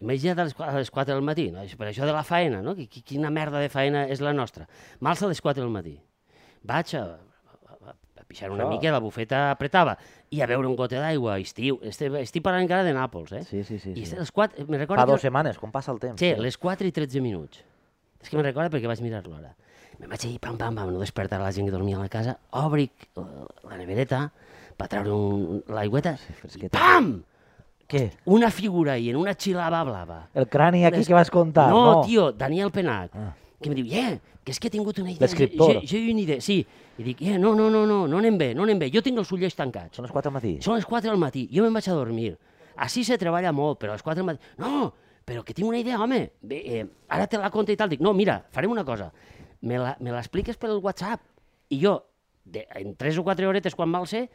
M'he llevat a les qua- a les 4 del matí, no? per això de la faena, no? Qui- qui- quina merda de faena és la nostra. M'alça a les 4 del matí, vaig a, a, a pixar una Això. mica, la bufeta apretava, i a beure un gote d'aigua, estiu, estic, estic parlant encara de Nàpols, eh? Sí, sí, sí. I sí. a les 4, me recordo Fa que- dues setmanes, com passa el temps. Sí, les 4 i 13 minuts. És que me'n recorda perquè vaig mirar l'hora. Me'n vaig dir, pam, pam, pam, no despertar la gent que dormia a la casa, òbric eh, la nevereta, per treure un, l'aigüeta, i fresqueta. pam! Què? Una figura i en una xilava blava. El crani aquí que vas contar. no, No, tio, Daniel Penach, Ah. que em diu, yeah, que és que he tingut una idea. L'escriptor. Jo, jo, jo una idea, sí. I dic, yeah, no, no, no, no, no anem bé, no anem bé. Jo tinc els ullers tancats. Són les 4 del matí. Són les 4 del matí, jo me'n vaig a dormir. Així se treballa molt, però a les 4 del matí... No, però que tinc una idea, home. Bé, eh, ara te la conto i tal. Dic, no, mira, farem una cosa. Me la- me l'expliques pel WhatsApp. I jo, de, en 3 o 4 horetes, quan mal sé,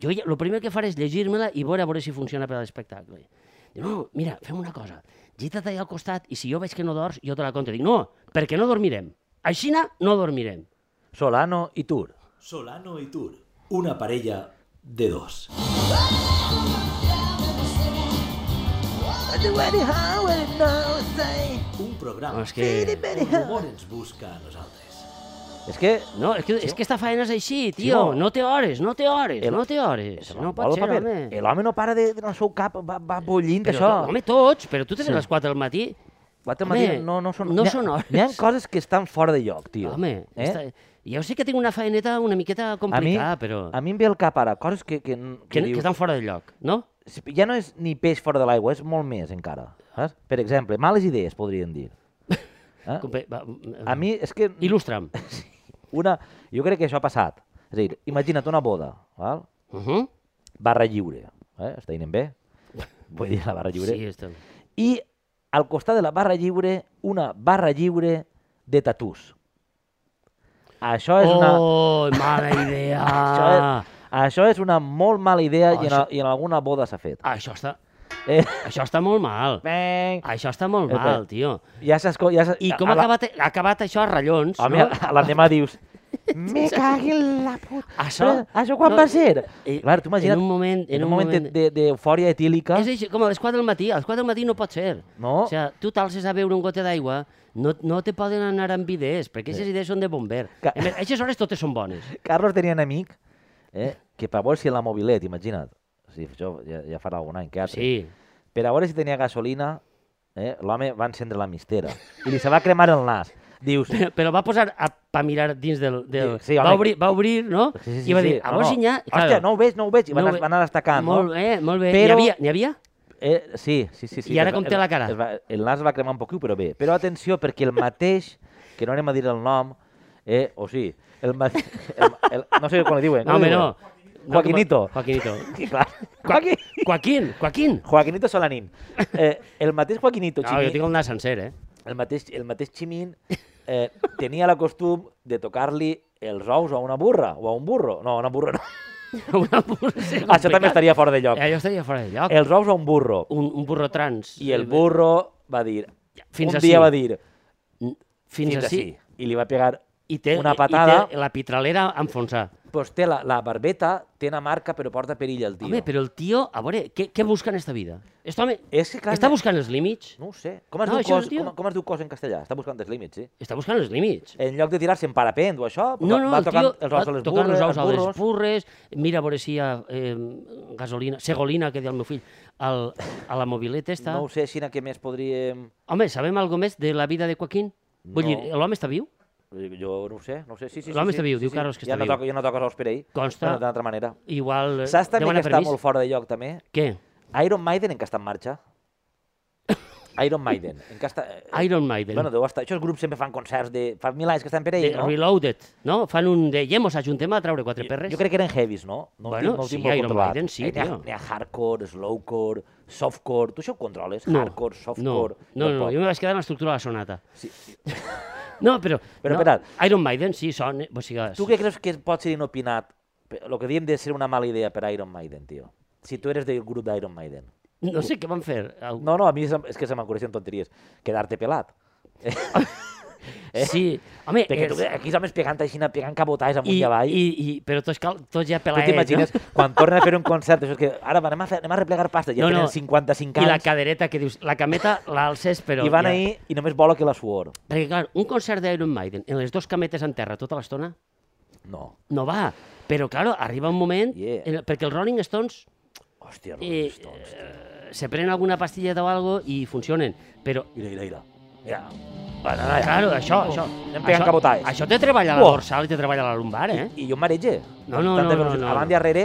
jo ja, lo primer que faré és llegir-me-la i veure, a veure si funciona per a l'espectacle. Diu, no, mira, fem una cosa. Gita't allà al costat i si jo veig que no dors, jo te la conto. Dic, no, perquè no dormirem. A Xina no dormirem. Solano i Tur. Solano y Tour, una parella de dos. Un No, programa és que... on l'humor ens busca a nosaltres. És que No, és que, és que esta faena és així, tio. Sí, no. No té hores, no té hores, El- no té hores. Se No me'n va pot el ser, paper. Eh, home. L'home no para de, de no seu cap, va, va bullint Però, això. to- home, tots, però tu tens Sí. a les 4 del matí. Quatre home, matí no, no són, no n'hi ha- són hores. N'hi ha coses que estan fora de lloc, tio. Home, eh? esta, jo sé que tinc una faeneta una miqueta a mi, complicada, però... a mi em ve el cap ara coses que, que, que, Que, que dius, estan fora de lloc, no? ja no és ni peix fora de l'aigua, és molt més encara. Saps? Per exemple, males idees, podríem dir. Eh? Com bé, va, A mi és que Il·lustra'm. una, jo crec que això ha passat. És a dir, imagina't una boda, val? Uh -huh. barra lliure, eh? està dient bé? Vull dir la barra lliure. Sí, estem. i al costat de la barra lliure, una barra lliure de tatús. Això és una... Oh, mala idea! Això és, això és una molt mala idea Oh, i, en, això- i en alguna boda s'ha fet. Això està, Eh, això està molt mal. bang, Això està molt Eh, bé. mal, tio. ja s'ha... esco- Ja s'ha- I com a ha la- acabat, ha acabat això a rallons? Home, no? a l'endemà dius... Me cagui en la puta... Això- Però això quan no, va ser? eh, Clar, tu imagina't... en un moment- en En un un moment moment- de- de- d'eufòria de, etílica... És així, com a les 4 del matí. A les 4 del matí no pot ser. No. O sigui, tu t'alces a beure un gote d'aigua, no, no te poden anar amb idees, perquè aquestes idees són de bomber. Ca- A més, a aquestes hores totes són bones. Carlos tenia un amic eh, que per veure si la mobilet, imagina't, o sigui, això ja, ja farà algun any que ara, Sí. per a veure si tenia gasolina, eh, l'home va encendre la mistera i li se va cremar el nas. Dius, Però, però va posar a, pa mirar dins del... del... Sí, sí, va, home. obrir, va obrir, no? sí, sí, I va sí, dir, sí, a veure si n'hi ha... Hòstia, no ho veig, no ho veig. I va, No ho anar, ve- va anar destacant, Molt no? bé, molt bé. Però- N'hi havia? N'hi havia? Eh, sí, sí, sí, sí. I ara es va- com té es- la cara? es Va, el nas es va cremar un poquiu, però bé. Però atenció, perquè el mateix, que no anem a dir el nom, eh, o sí, el, ma- el, el, no sé com li diuen. No, com li home, diuen? no. No, Joaquinito. com- Joaquinito. Sí, clar. Joaquín, Joaquín. Joaquín, Joaquín. Joaquinito Solanín. Eh, el mateix Joaquinito, No, jo Chimín, tinc el nas sencer, eh? el, mateix, el mateix Chimín eh, tenia la costum de tocar-li els ous a una burra o a un burro. No, a una burra no. Una burra, sí, Això complicat. també estaria fora de lloc. Eh, jo estaria fora de lloc. Els ous a un burro. Un, un burro trans. I el burro va dir... Fins un ací. dia va dir... Fins, Fins així. ací. I li va pegar I té, una i- patada. I té la pitralera enfonsar. Pues té la, la barbeta, té una marca, però porta perill al tio. Home, però el tio, a veure, què, què busca en esta vida? Este home És que, Eh, clar, està buscant els límits? No ho sé. Com es, No, diu això cos, es diu- com, com es diu cos en castellà? Està buscant els límits, sí? Està buscant els límits. En lloc de tirar-se en parapent o això, pues No, no, Eh, va el tocant tio els ous a les tocant burres, els ous a les burros. burres, mira a veure si hi ha eh, gasolina, segolina, que diu el meu fill, al, a la mobileta esta. No ho sé, Xina, què més podríem... Home, sabem alguna més de la vida de Joaquín? Vull dir, No. l'home està viu? eh, Jo no ho sé, no ho sé. Sí, sí, sí, L'home sí, està viu, sí, diu sí. Carlos que ja està no viu. Toca, ja no toca ous per ell. Consta. Bueno, d'altra manera. Igual eh, Saps també demana que està permís? molt fora de lloc, també? Què? Iron Maiden en què està en marxa? Iron Maiden. En què està... eh, Iron Maiden. Bueno, deu estar... Aquests grups sempre fan concerts de... Fa mil anys que estan per ell, de no? Reloaded, no? Fan un de... I hem ajuntem a treure quatre perres. Jo crec que eren heavies, no? no ho Bueno, tinc- no ho sí, tinc molt Iron controlat. Maiden sí, Eh, N'hi ha, tio. n'hi ha hardcore, slowcore, softcore... Tu això ho controles? no. Hardcore, no. softcore... No, no, no, tampoc. jo me vaig quedar en l'estructura de la sonata. Sí. No, però... no, Però, espera't. Iron Maiden, sí, són... O sigui, Tu què creus que pot ser inopinat? El que diem de ser una mala idea per Iron Maiden, tio. Si tu eres del grup d'Iron Maiden. No sé què van fer. eh, No. No, no, a mi se- és que se m'acudeixen tonteries. Quedar-te pelat. Eh? Sí, home, Perquè tu, és- aquí els homes pegant així, cal cabotades amunt i, i, avall. i, i, però tots, cal, tots ja Tu pelaets, t'imagines, no? quan tornen a fer un concert, això és que ara va, anem a, fer, anem a replegar pasta, ja No, no, no. tenen 55 I la anys, i, cadereta que dius, la cameta l'alces, però... i van ja. ahir i només vola que la suor. Perquè, clar, un concert d'Iron Maiden, en les dues cametes en terra tota l'estona, No. no va. Però, claro, arriba un moment... Yeah. En, perquè els Rolling Stones eh, Hòstia, Rolling Stones, tio. eh, se prenen alguna pastilleta o algo i funcionen. Però, Mira, mira, mira. Mira. Bueno, no, ja. Eh, claro, això, això... Anem pegant això, cabotades. això te treballa la Uah. dorsal i te treballa la lumbar, eh? I jo em marege. No, no, no, Tanta no, velocitat. no. Avant i darrere,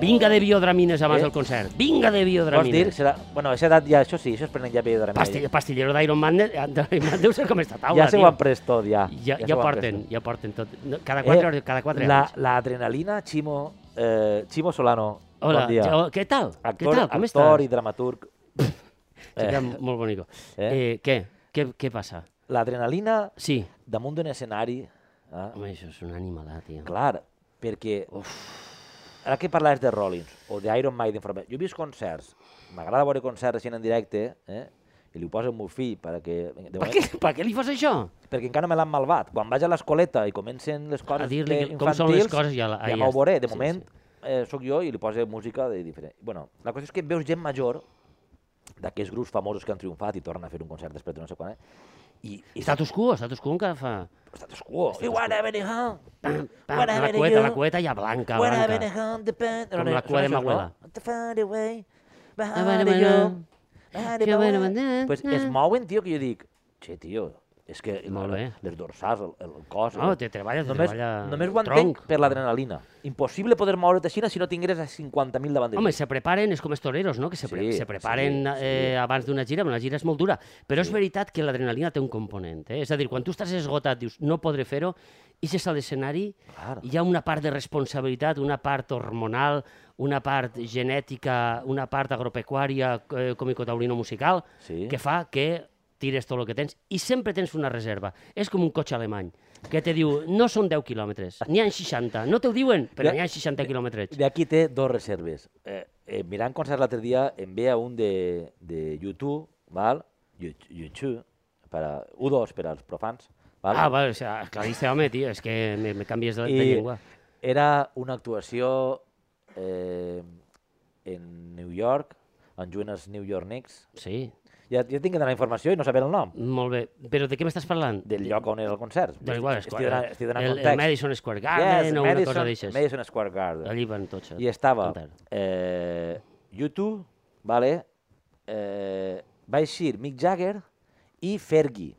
Vinga de biodramines abans Eh? del concert. Vinga de vols dir, biodramines. serà... Bueno, a aquesta edat ja, això sí, això es prenen ja bé de remei. Pastill, pastillero d'Iron Man, eh, d'Iron Man deu ser com esta taula, Ja se ho tio. han pres tot, ja. Ja, ja, se ho han pres porten, tot. Eh, ja porten tot. No, Cada quatre, hores, cada quatre la, anys. L'adrenalina, Chimo, eh, Chimo Solano, Hola, bon dia. ja- què tal? què Actor, tal? Com actor i estàs? dramaturg. Queda Eh, molt bonico. Eh? Eh, què? què? Què passa? L'adrenalina Sí. damunt d'un escenari, eh? Home, això és un animalat, tio. clar, perquè... Uf. Ara que parlaves de Rollins o d'Iron Maiden, però bé, jo he vist concerts, m'agrada veure concerts així en directe, eh? i li ho poso al meu fill perquè, de Per moment, què, per què li fas això? perquè encara me l'han malvat. Quan vaig a l'escoleta i comencen les coses A dir-li de que- com són les infantils, coses, ja la- ah, ja ja m'ho està. veuré. De Sí, moment eh, sóc jo i li poso música de diferent. Bueno, la cosa és que veus gent major d'aquests grups famosos que han triomfat i tornen a fer un concert després de no sé quan, eh? I, i Status quo, status quo encara fa... status quo. I wanna be home. Pam, pam, Wanna la be cueta, you. la cueta ja blanca, Wanna be blanca. home, depend- Com No, no, la cua de això no, Manuela. to find a way behind Ah, bueno, the bueno. young, behind the Que bueno, moment. bueno, Pues bueno. es mouen, tio, que jo dic, che, tio, és que el- Molt bé. les dorsals, el, el cos... No, el- te treballes, Només, treballa només el ho entenc tronc. per l'adrenalina. Impossible poder moure't així si no tingueres a 50.000 davant de Home, tu. se preparen, és com els toreros, no? Que se, pre Sí, se preparen sí, sí. eh, abans d'una gira, però una gira és molt dura. Però és veritat que l'adrenalina té un component, eh? És a dir, quan tu estàs esgotat, dius, no podré fer-ho, i és a l'escenari, Clar. hi ha una part de responsabilitat, una part hormonal, una part genètica, una part agropecuària, eh, comicotaurino-musical, Sí. que fa que tires tot el que tens i sempre tens una reserva. És com un cotxe alemany que te diu, no són 10 quilòmetres, n'hi ha 60. No te ho diuen, però Ja- n'hi ha 60 quilòmetres. De aquí té dos reserves. Eh, eh, mirant concerts l'altre dia, em ve a un de, de YouTube, val? Yu- YouTube, per a, U2 per als profans, val? Ah, vale, o sea, claríssim, home, tio, és que me, me canvies de, de I llengua. Era una actuació eh, en New York, on juguen els New York Knicks. Sí, Ja, ja tinc que donar informació i no saber el nom molt bé. Però de què m'estàs parlant? del lloc on era el concert. Dona igual, estic, donant, estic donant el, el context. Madison Square Garden Yes, o una Madison, cosa d'aixes. Madison Square Garden. Allí van tots. a I estava cantar. eh, YouTube, vale? Eh, va eixir Mick Jagger i Fergie.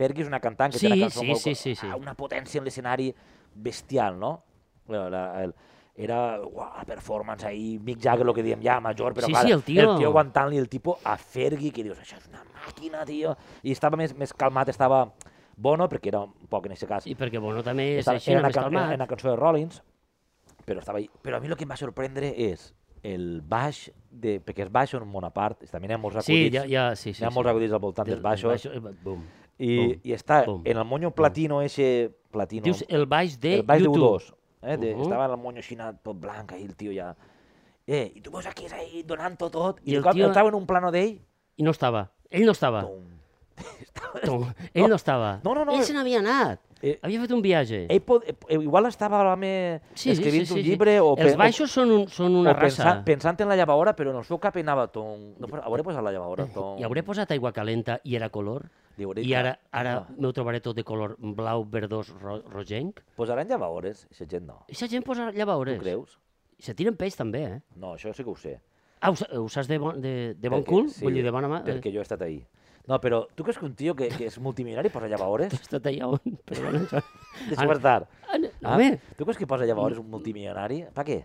Fergie és una cantant que té Sí, una cançó sí, molt... sí, sí, sí. Ah, Una potència en l'escenari bestial, no? Bueno, la, el, era uah, la performance ahí, Mick Jagger, el que diem ja, major, però Sí, clar, sí, el tio. el tio aguantant-li el tipus a Fergie, que dius, això és una màquina, tio. I estava més, més calmat, estava Bono, perquè era un poc en aquest cas I perquè Bono també és estava, així, era, no una, més can- era calmat. una cançó de Rollins, però estava ahí. Però a mi el que em va sorprendre és el baix, de, perquè els baixos en Bonaparte, també n'hi ha molts Sí, acudits, ja, ja, sí, sí. n'hi ha sí. molts acudits al voltant dels baixos, baixo, eh, bum. i, bum, i està bum, en el moño platino, eixe platino, Dius el baix de el baix de YouTube. Uh-huh. U2, eh, de, Ujú. estava en el moño xinat, tot blanc, ahí el tio ja... Eh, i tu veus aquí, ahí, donant-ho tot, i, I I el el cop tio- Ah. entrava en un plano d'ell, I no estava. Ell no estava. pum. Tom. Ell no estava. No, no, no. Ell se n'havia anat. Eh, Havia fet un viatge. Ell pot, eh, igual estava l'home Sí, sí, escrivint sí, sí, un sí. llibre o pe- Els o- baixos són, un, són una o raça. pensa- pensant en la llevadora, però en el seu cap anava ton... No, però hauré posat la llevadora, ton... Hi hauré posat aigua calenta i era color? Li hauré I dit, ara, ara "Ah, m'ho trobaré tot de color blau, verdós, ro rogenc? Posaran llevadores, aquesta gent no. Aquesta gent posa llavaures. Tu creus? Se tiren peix també, eh? No, això sí que ho sé. Ah, ho, sa- ho saps de bon, de, de bon Perquè- cul? Vull dir, eh. de bona mà? Perquè jo he estat ahir. No, però tu creus que un tio que, que és multimilionari posa llevadores? Eh, Està allà on... Però bueno, això... Deixa'm estar. Ah, no, Ah, home, tu creus que posa llevadores un multimilionari? Per què?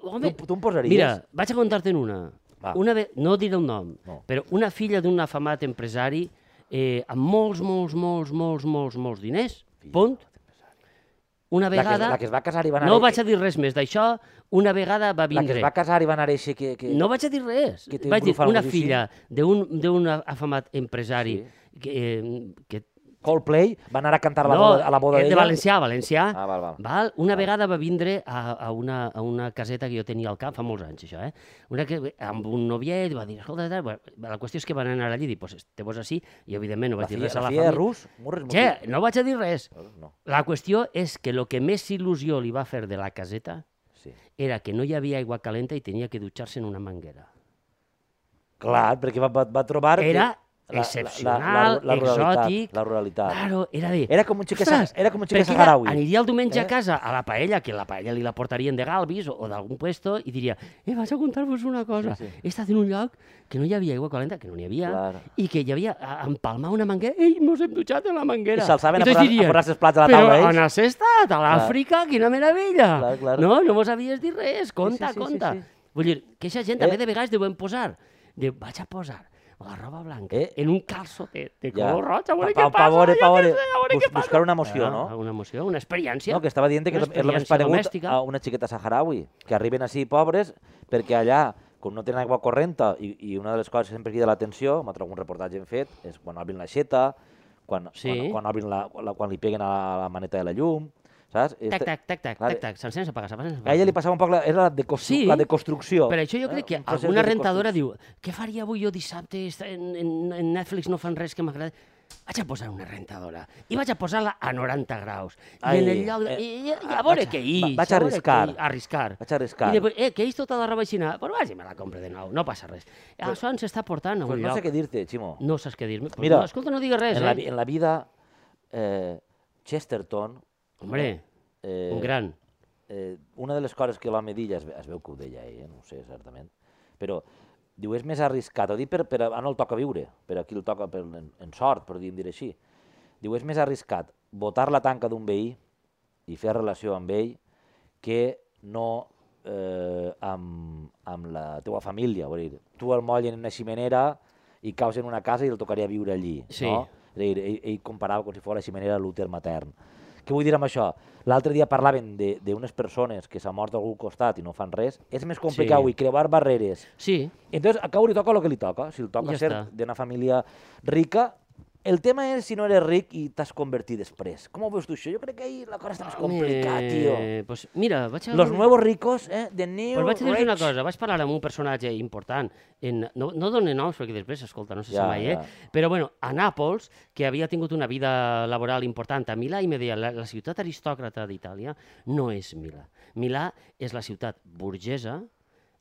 home, tu, tu em posaries? mira, vaig a contar-te'n una. Va. una ve... No diré el nom, No. però una filla d'un afamat empresari eh, amb molts, molts, molts, molts, molts, molts diners, punt, una la que, vegada... la que es va casar i va anar... No vaig a dir res més d'això, una vegada va La que vindre. es va casar i va anar eixe que... que... No vaig a dir res. que té un Vaig dir grup una famosíssim. filla d'un d'un afamat empresari Sí. que, eh, que Coldplay va anar a cantar a la no, boda, a la boda és de d'ella. valencià, valencià. Ah, val, val. Val? Una vegada va vindre a, a, una, a una caseta que jo tenia al cap, fa molts anys, això, eh? Una que, amb un noviet, va dir, escolta, tal, bueno, la qüestió és que van anar allí i dir, pues, te vols així, i evidentment no La vaig dir filla, res a la la filla de família. Rus, Murres, Ja, no vaig a dir res. Murres. No, La qüestió és que el que més il·lusió li va fer de la caseta sí. era que no hi havia aigua calenta i tenia que dutxar-se en una manguera. Clar, perquè va, va, va trobar... que Era la- la- excepcional, ruralitat, exòtic. La ruralitat. Claro, era de... Era com un xiquet sa- "Ostres, era com un xiquet perquè saharaui". Aniria el diumenge Eh? a casa a la paella, que la paella li la portarien de Galvis o, o d'algun puesto, i diria, eh, vaig a contar-vos una cosa. Sí, sí. He estat en un lloc que no hi havia aigua calenta, que no n'hi havia, Claro. i que hi havia a, a empalmar una manguera. Ei, mos hem dutxat a la manguera. I se'ls saben a Entonces posar- a dirien, posar-se els plats a la taula, ells". Però on has estat? A l'Àfrica? Quina meravella! Clar, clar. No, no mos havies dit res. Compte, sí, sí, compte. sí. Vull dir, que aquesta gent Eh. també de vegades deuen posar. De, vaig a posar la roba blanca Eh. en un calçotet de color roig, a veure Pa- què pa- passa, pavore, jo què pavore. sé, a veure Bus- què passa. buscar una emoció, Ah, no? Una emoció, una experiència. No, que estava dient que una és és el més experiència paregut domèstica. a una xiqueta saharaui, que arriben així pobres perquè allà, com no tenen aigua correnta, i, i una de les coses que sempre crida l'atenció, m'altre algun reportatge hem fet, és quan obrin l'aixeta, quan, Sí. quan, quan, obrin la, la, quan li peguen a la, la maneta de la llum, saps? Tac, tac, tac, tac, Clar, tac, tac. S'encén, s'apaga, s'apaga, A ella li passava un poc la, era la, de Sí, la deconstrucció. Per això jo crec que Un procés alguna de rentadora deconstrucció. diu què faria avui jo dissabte? Està En, en, en Netflix no fan res que m'agradi. Vaig a posar una rentadora i vaig a posar-la a 90 graus. I en Ai, el lloc... De, eh, i, i, i a ah, veure vaig a- què hi... va- vaig a veure arriscar. què hi- Arriscar. Vaig arriscar. I després, eh, que hi tota la roba aixina? Però vaig i me la compro de nou, no passa res. Però, Això ens està portant a un Pues no sé lloc... què dir-te, Ximo. No saps què dir-me. Pues Mira, no, escolta, no digues res, en, la, vi- eh? en la vida, eh, Chesterton... Hombre, eh, un gran. eh, una de les coses que l'home d'illa es, ve- es veu que ho deia ell, eh? no ho sé exactament, però diu, és més arriscat, ho dic per, per ara no el toca viure, per aquí el toca per, en, en sort, per dir dir així. Diu, és més arriscat votar la tanca d'un veí i fer relació amb ell que no eh, amb, amb la teua família. Vull dir, tu el mollen en una ximenera i caus en una casa i el tocaria viure allí. Sí. No? És a dir, ell, ell comparava com si fos la ximenera l'úter matern. Què vull dir amb això? L'altre dia parlaven de- d'unes persones que s'ha mort a algun costat i no fan res. És més complicat Sí. avui creuar barreres. Sí, Entonces, a cada li toca el que li toca. Si li toca Ja ser està. d'una família rica, el tema és si no eres ric i t'has convertit després. Com ho veus tu això? Jo crec que ahí la cosa està més complicada, tio. Eh, Pues mira, vaig a... Los nuevos ricos, eh? The new Però vaig dir rich. una cosa, vaig parlar amb un personatge important, en, no, no dono noms perquè després, escolta, no sé Ja, si mai, eh? ja. però bueno, a Nàpols, que havia tingut una vida laboral important a Milà, i me deia, la, la ciutat aristòcrata d'Itàlia no és Milà. Milà és la ciutat burgesa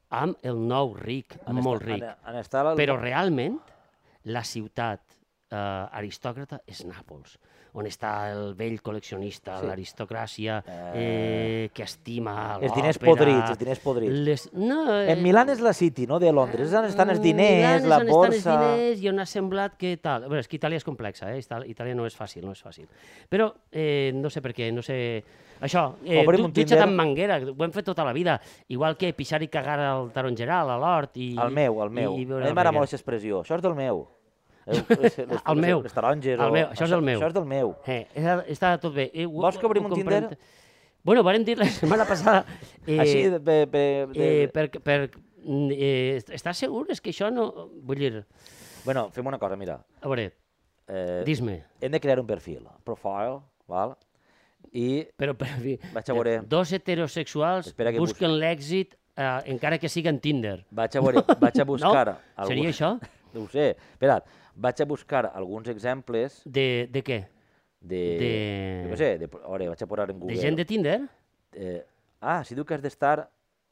amb el nou ric, Han estat- molt ric. han- han estat al- Però realment, la ciutat eh, aristòcrata és Nàpols, on està el vell col·leccionista, Sí. sí. l'aristocràcia, eh... Eh, que estima els diners l'òpera, podrits, els diners podrits. Les... No, eh, En Milán és la City, no? De Londres. On estan els diners, Milán la Mm, és on borsa... Estan els diners i on ha semblat que tal. A veure, és que Itàlia és complexa, eh? Itàlia, Itàlia no és fàcil, no és fàcil. Però eh, no sé per què, no sé... Això, eh, Obrim du, un dutxa't Tinder. amb manguera, ho hem fet tota la vida. Igual que pixar i cagar al tarongeral, a l'hort i... El meu, el meu. i- i A beure mi la manguera. m'agrada molt aquesta expressió. Això és del meu. Eh, les- les- El meu. Les El taronges. o- meu, això és del meu. Això és del meu. Eh, està- està tot bé. Eh, ho- Vols que ho- obrim ho un comprem. Tinder? Bueno, vàrem dir la setmana passada... Eh, Així, de, de, de, eh, per, per, mm, eh, est- estàs segur? És que això no... Vull dir, Bueno, fem una cosa, mira. a veure, Eh, dis-me. hem de crear un perfil, profile, val? I Però, per fi, Vaig a veure. dos heterosexuals Espera que busquen l'èxit eh, encara que siguin Tinder. vaig a, veure, vaig a buscar... no? Seria això? No ho sé, espera't. Vaig a buscar alguns exemples De, de què? de... De- Jo què sé, de, a veure, vaig a posar en Google. De gent de Tinder? Eh, ah, si diu que has d'estar...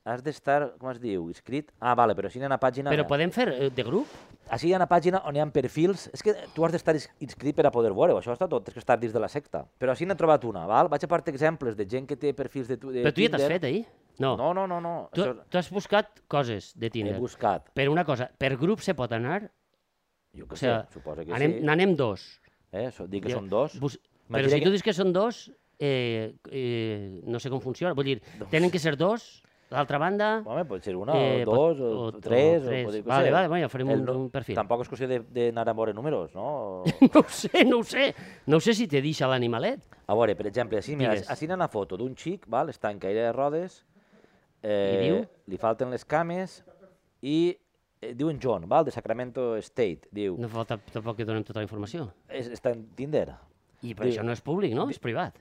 Has d'estar, com es diu, inscrit... Ah, vale, però si hi ha una pàgina... Però podem fer eh, de grup? Així hi ha una pàgina on hi ha perfils. És que tu has d'estar is- inscrit per a poder veure Això està tot. Tens que estar dins de la secta. Però així n'he trobat una, val? Vaig a part exemples de gent que té perfils de, tu, de Però tu ja t'has Tinder. fet, ahir? No. No, no, no, Eh, no. tu, Això tu has buscat coses de he Tinder. buscat. Però una cosa, per grup se pot anar? Jo O què sé, sigui, suposa que anem, sí. n'anem dos. Eh, so, dic que Jo- són dos. Bus... Però Imagina si tu que- dius que són dos, eh, eh, no sé com funciona. Vull dir, tenen que ser dos, l'altra banda... Home, pot ser una, Eh, eh, o pot- dos, o, o- o tres, o o, tres. pot dir, què Vale, sé. vale, bueno, farem El un- no- un perfil. Tampoc és qüestió de- d'anar a veure números, no? No ho sé, no ho sé. No ho sé si te deixa l'animalet. A veure, per exemple, així, mira, Digues. així hi ha una foto d'un xic, val? està en caire de rodes, eh, diu? li falten les cames, i eh, diu en John, val? de Sacramento State, diu, No falta tampoc que donem tota la informació. és, està en Tinder, I però això no és públic, no? És privat.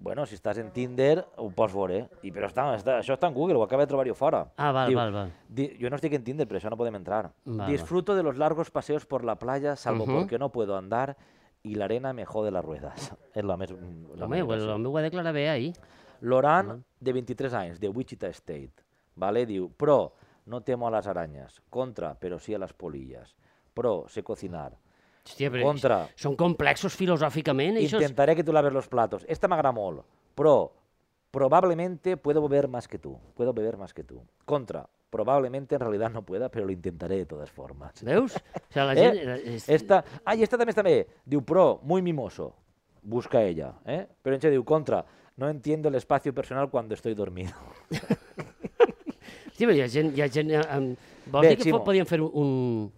Bueno, si estàs en Tinder, ho pots veure, eh? I, però està, està, això està en Google, ho acaba de trobar jo fora. Ah, val, val, val. di- jo no estic en Tinder, però això no podem entrar. Val, val. Disfruto de los largos paseos por la playa, salvo porque no puedo andar, y la arena me jode las ruedas. És la més... La Home, manera, el, sí. el meu ho va declarar bé ahir. Loran, de 23 anys, de Wichita State, vale? diu, pro, no temo a las arañas, contra, pero sí a las polillas, pro, sé cocinar, Hòstia, però Contra. són complexos filosòficament. Això és... intentaré que tú laves los platos, esta me agrada molt, pro, probablemente puedo beber más que tú, puedo beber más que tú, contra, probablemente en realidad no pueda, pero lo intentaré de todas formas. Veus? O sigui, la gent... Eh? és- Esta... Ah, i esta també està bé. Diu, pro, muy mimoso. Busca ella. Eh? Però en diu, contra, no entiendo el espacio personal cuando estoy dormido. Sí, però hi ha gent... Hi ha gent eh, amb... Vols Bé, dir que Ximo. fo- podríem fer un...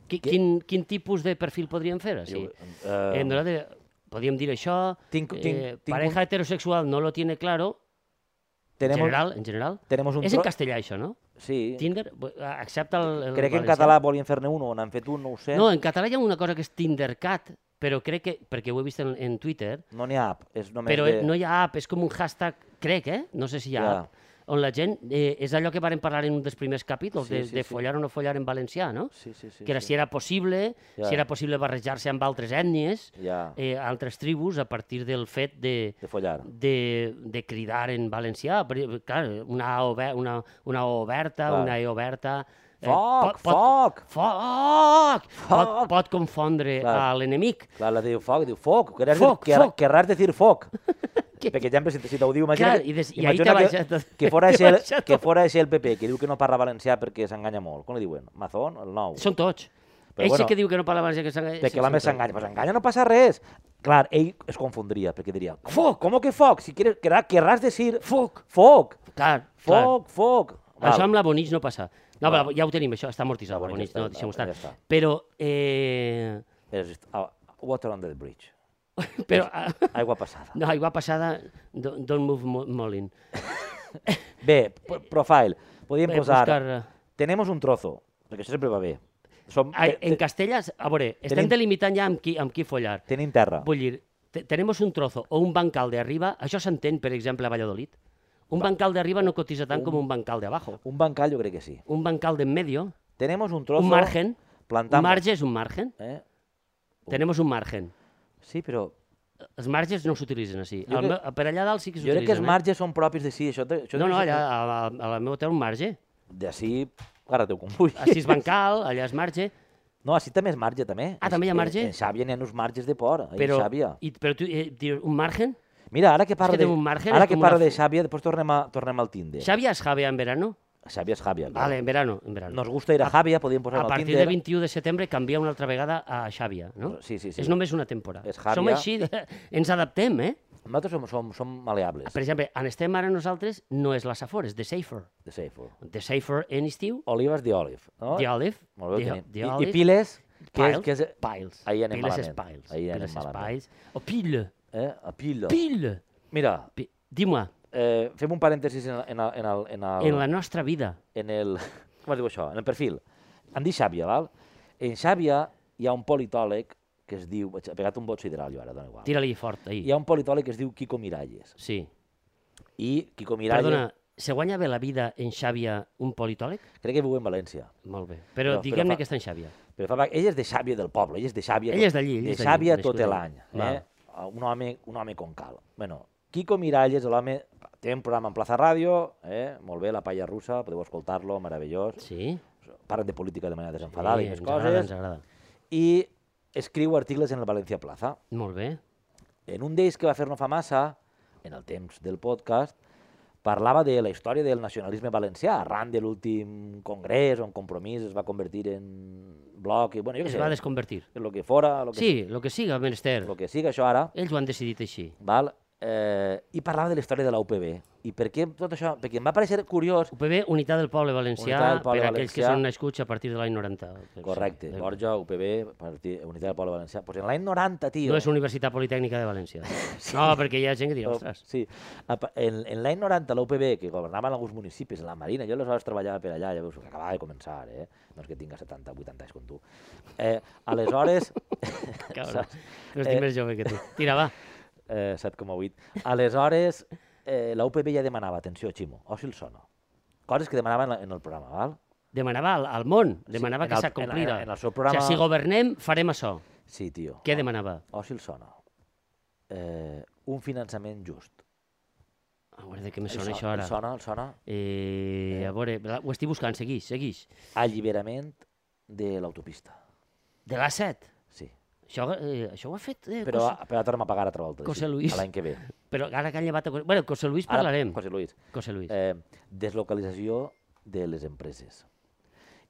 qui- Quin, quin tipus de perfil podríem fer, així? Jo, eh, eh, nosaltres podríem dir això... Tinc- tinc- eh, tinc pareja un- heterosexual no lo tiene claro, en Tenemos, general, en general. tenemos un És en tro- castellà, això, no? Sí. Tinder, bo- excepte el... el Crec que en valencià. català volien fer-ne un o n'han fet un, no ho sé. No, eh. en català hi ha una cosa que és Tindercat, però crec que... Perquè ho he vist en, en Twitter, No n'hi ha app. És només però eh, de... no hi ha app, és com un hashtag, crec, eh? No sé si hi ha Ja. app, on la gent... Eh, és allò que varen parlar en un dels primers capítols, Sí, de, sí, de sí. follar o no follar en valencià, no? Sí, sí, sí. que era sí. si era possible, Ja. si era possible barrejar-se amb altres ètnies, Ja, eh, altres tribus, a partir del fet de, de follar. de, de cridar en valencià. Per- Clar, una A, obe- una, una o oberta, Clar. una E oberta... Foc, pot, foc! Foc! Pot, Foc! pot confondre Clar. a l'enemic. Clar, la diu foc, diu foc. Querràs, Foc, dir, quer- foc. querràs dir foc. Perquè ja, si, si t'ho diu, imagina, Clar, que, i des- i ahí imagina t'ha que, baixat- que, fora t'ha així el, baixat que tot. fora així el PP, que diu que no parla valencià perquè s'enganya molt. Com li diuen? Mazón, el nou. Són tots. Però Però ell bueno, sí que diu que no parla valencià, que s'enganya. Perquè sí, són l'home tots. s'enganya. Pues enganya no passa res. Clar, ell es confondria, perquè diria, foc, com que foc? Si quieres, querràs, querràs dir Foc! foc, Clar, clar. foc, foc. Val. Això amb la Bonich no passa. No, però ja ho tenim, això, està amortitzat, La la Bonich, Bonich està- no, deixem-ho ja estar. està. Però, eh... És just- ah, water under the bridge. però ah, Aigua passada. No, aigua passada, don't, don't move mo- Molin. Bé, p- profile. Podíem Bé, posar... buscar- eh, Tenemos un trozo, perquè això sempre va bé. Som, eh, Ai, eh, te- en castellà, a veure, estem Tenim- delimitant ja amb qui, amb qui follar. tenim terra. Vull dir, te- tenemos un trozo o un bancal de arriba, això s'entén, per exemple, a Valladolid. Un bancal de arriba no cotitza tant com un bancal de abajo. Un bancal jo crec que sí. Un bancal de en medio, Tenemos un trozo... un margen. Un Plantamos. marge és un margen. Eh? Tenemos un margen. Sí, però Els marges no s'utilitzen així. Jo El crec- meu- Per allà dalt sí que jo crec que els s'utilitzen. eh? marges són propis de si. Això, te- això No, no, deu ser- allà, a la, a la meva té un marge. D'ací, ara teu com vull. Així és bancal, allà és marge. No, així també és marge, també. Ah, també hi ha En- marge? En Xàbia n'hi ha uns marges de por, ahí Però, en Xàbia. i, però tu eh, dius, un margen? Mira, ara que parlo té de, un marge, és ara que com una parlo de fu- Xàbia, després tornem, a, tornem al Tinder. Xàbia és Javea en verano? Xàbia és Xàbia. clar. Vale, en verano, en verano. Nos gusta ir a Xàbia, podíem posar a al partir Tinder. del 21 de setembre canvia una altra vegada a Xàbia, no? Sí, sí, sí. És només una temporada. És Xàbia. Som així, de- ens adaptem, eh? Nosaltres som, som, som maleables, Per exemple, on estem ara nosaltres no és la Safor, és The Safer. de Seifo. The Safer en estiu, Olives de Olive, no? The Olive, Molt bé, ho The, tenim. the I, I Olive, Piles, que és... Piles, Que és Piles. Ahir anem Piles és malament. Piles. Ahir anem Piles és malament. Piles. O Pile, eh? A Pilo. Pile. Mira, Pi- Dis-moi, eh, fem un parèntesis en, el- en, el, en, el, en, el, en la nostra vida, en el... Com es diu això? En el perfil. Em dic Xàbia, val? En Xàbia hi ha un politòleg que es diu... He pegat un bot sideral jo ara, dona igual. tira-li fort ahir. Hi ha un politòleg que es diu Quico Miralles. Sí. I Quico Miralles... Perdona, se guanya bé la vida en Xàbia un politòleg? Crec que viu en València. Molt bé. Però No, però diguem-ne fa- que està en Xàbia. Però fa... ell és de Xàbia del poble, ell és de Xàbia... Ell és d'allí, ell De és d'allí, Xàbia nascut tot allí. l'any, eh? Val. Un home, un home com cal. Bueno, Quico Miralles, l'home, té un programa en Plaza Ràdio, eh? molt bé, La Palla Russa, podeu escoltar-lo, meravellós. Sí? Parlen de política de manera desenfadada Sí, i més ens coses. Agrada, ens agrada. I escriu articles en el València Plaza. Molt bé. En un d'ells que va fer no fa massa, en el temps del podcast, parlava de la història del nacionalisme valencià, arran de l'últim congrés on Compromís es va convertir en bloc, i, bueno, jo Es què va sé, desconvertir. el que fora, el que, Sí, el que siga, menester. lo que siga això ara, Ells ho han decidit així. val? Eh, i parlava de la història de la UPB. I per què tot això? Perquè em va parecer curiós UPB, Unitat del Poble Valencià, Unitat del Poble per aquells que Valencià. són nascuts a partir de l'any 90. Sí, Correcte, de- Borja, UPB, Partit, Unitat del Poble Valencià. Pues en l'any 90, tio... No és Universitat Politècnica de València. No, perquè hi ha gent que dirà, ostres, Sí. A pa- En, en l'any 90, l'UPB, que governava en alguns municipis, en la Marina, jo aleshores treballava per allà, ja veus que acabava de començar, eh? No és que tinga 70, 80 anys com tu. Eh, aleshores, cabrón, que estic més jove que tu. Tira, va. eh, 7,8. Aleshores, eh, la UPB ja demanava, atenció, Ximo, o si el sona. Coses que demanaven en la- en el programa, val? Demanava al, al món, demanava en que el- s'acomplira. en el- en el seu programa- O sigui, si governem, farem això. Sí, tio. Què demanava? O si el sona. Eh, un finançament just. A veure, de què me El sona so- això El ara? sona, el sona. Eh, a veure, la- ho estic buscant, segueix, segueix. Alliberament de l'autopista. De l'A7. Sí. Això, eh, això ho ha fet... Eh, Però, Però, José, però ara torna a pagar a Travolta. José sí, Luis. a L'any que ve. però ara que han llevat... a José- Bueno, José Luis parlarem. José Luis. José Luis. Eh, deslocalització de les empreses.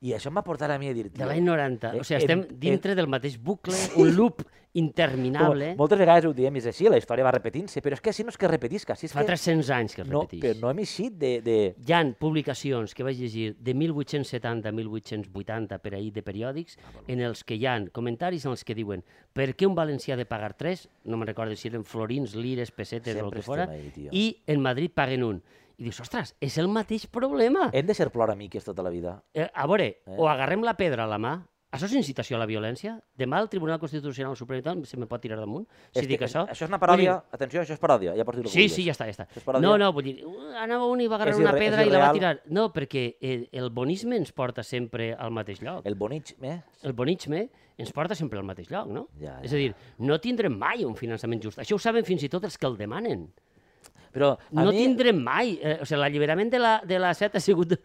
I això em va portar a mi a De dir... tio, l'any 90. eh, O sigui, em- estem em- dintre del mateix bucle, un loop interminable. Com, moltes vegades ho diem, és així, la història va repetint-se, però és que si no és que repetisca, si és Fa que 300 anys que es no, repeteix. però no hem eixit de... de... Hi han publicacions que vaig llegir de 1870 a 1880 per ahir de periòdics Ah, en els que hi han comentaris en els que diuen per què un valencià ha de pagar tres, no me'n recordo si eren florins, lires, pessetes o el Sempre que fora, estem ahí, tio. i en Madrid paguen un. I dius, ostres, és el mateix problema. Hem de ser ploramiques tota la vida. Eh, a veure, o agarrem la pedra a la mà, això és incitació a la violència? Demà el Tribunal Constitucional Suprem i tal, se me pot tirar damunt? Si És dic que- això? Això és una Vull dir, paròdia, atenció, això és paròdia, ja pots dir el que Sí, vulguis. sí, ja està, ja està. És paròdia? No, no, vull dir, uh, anava un i va agarrar És una irre- pedra és i la va irreal? tirar. No, perquè el, el bonisme ens porta sempre al mateix lloc. El, El bonitx, eh? el bonisme ens porta sempre al mateix lloc, no? Ja, ja. És a dir, no tindrem mai un finançament just. Això ho saben fins i tot els que el demanen. Però a no mi, tindrem mai... Eh, o sigui, l'alliberament de la, de la set ha sigut dos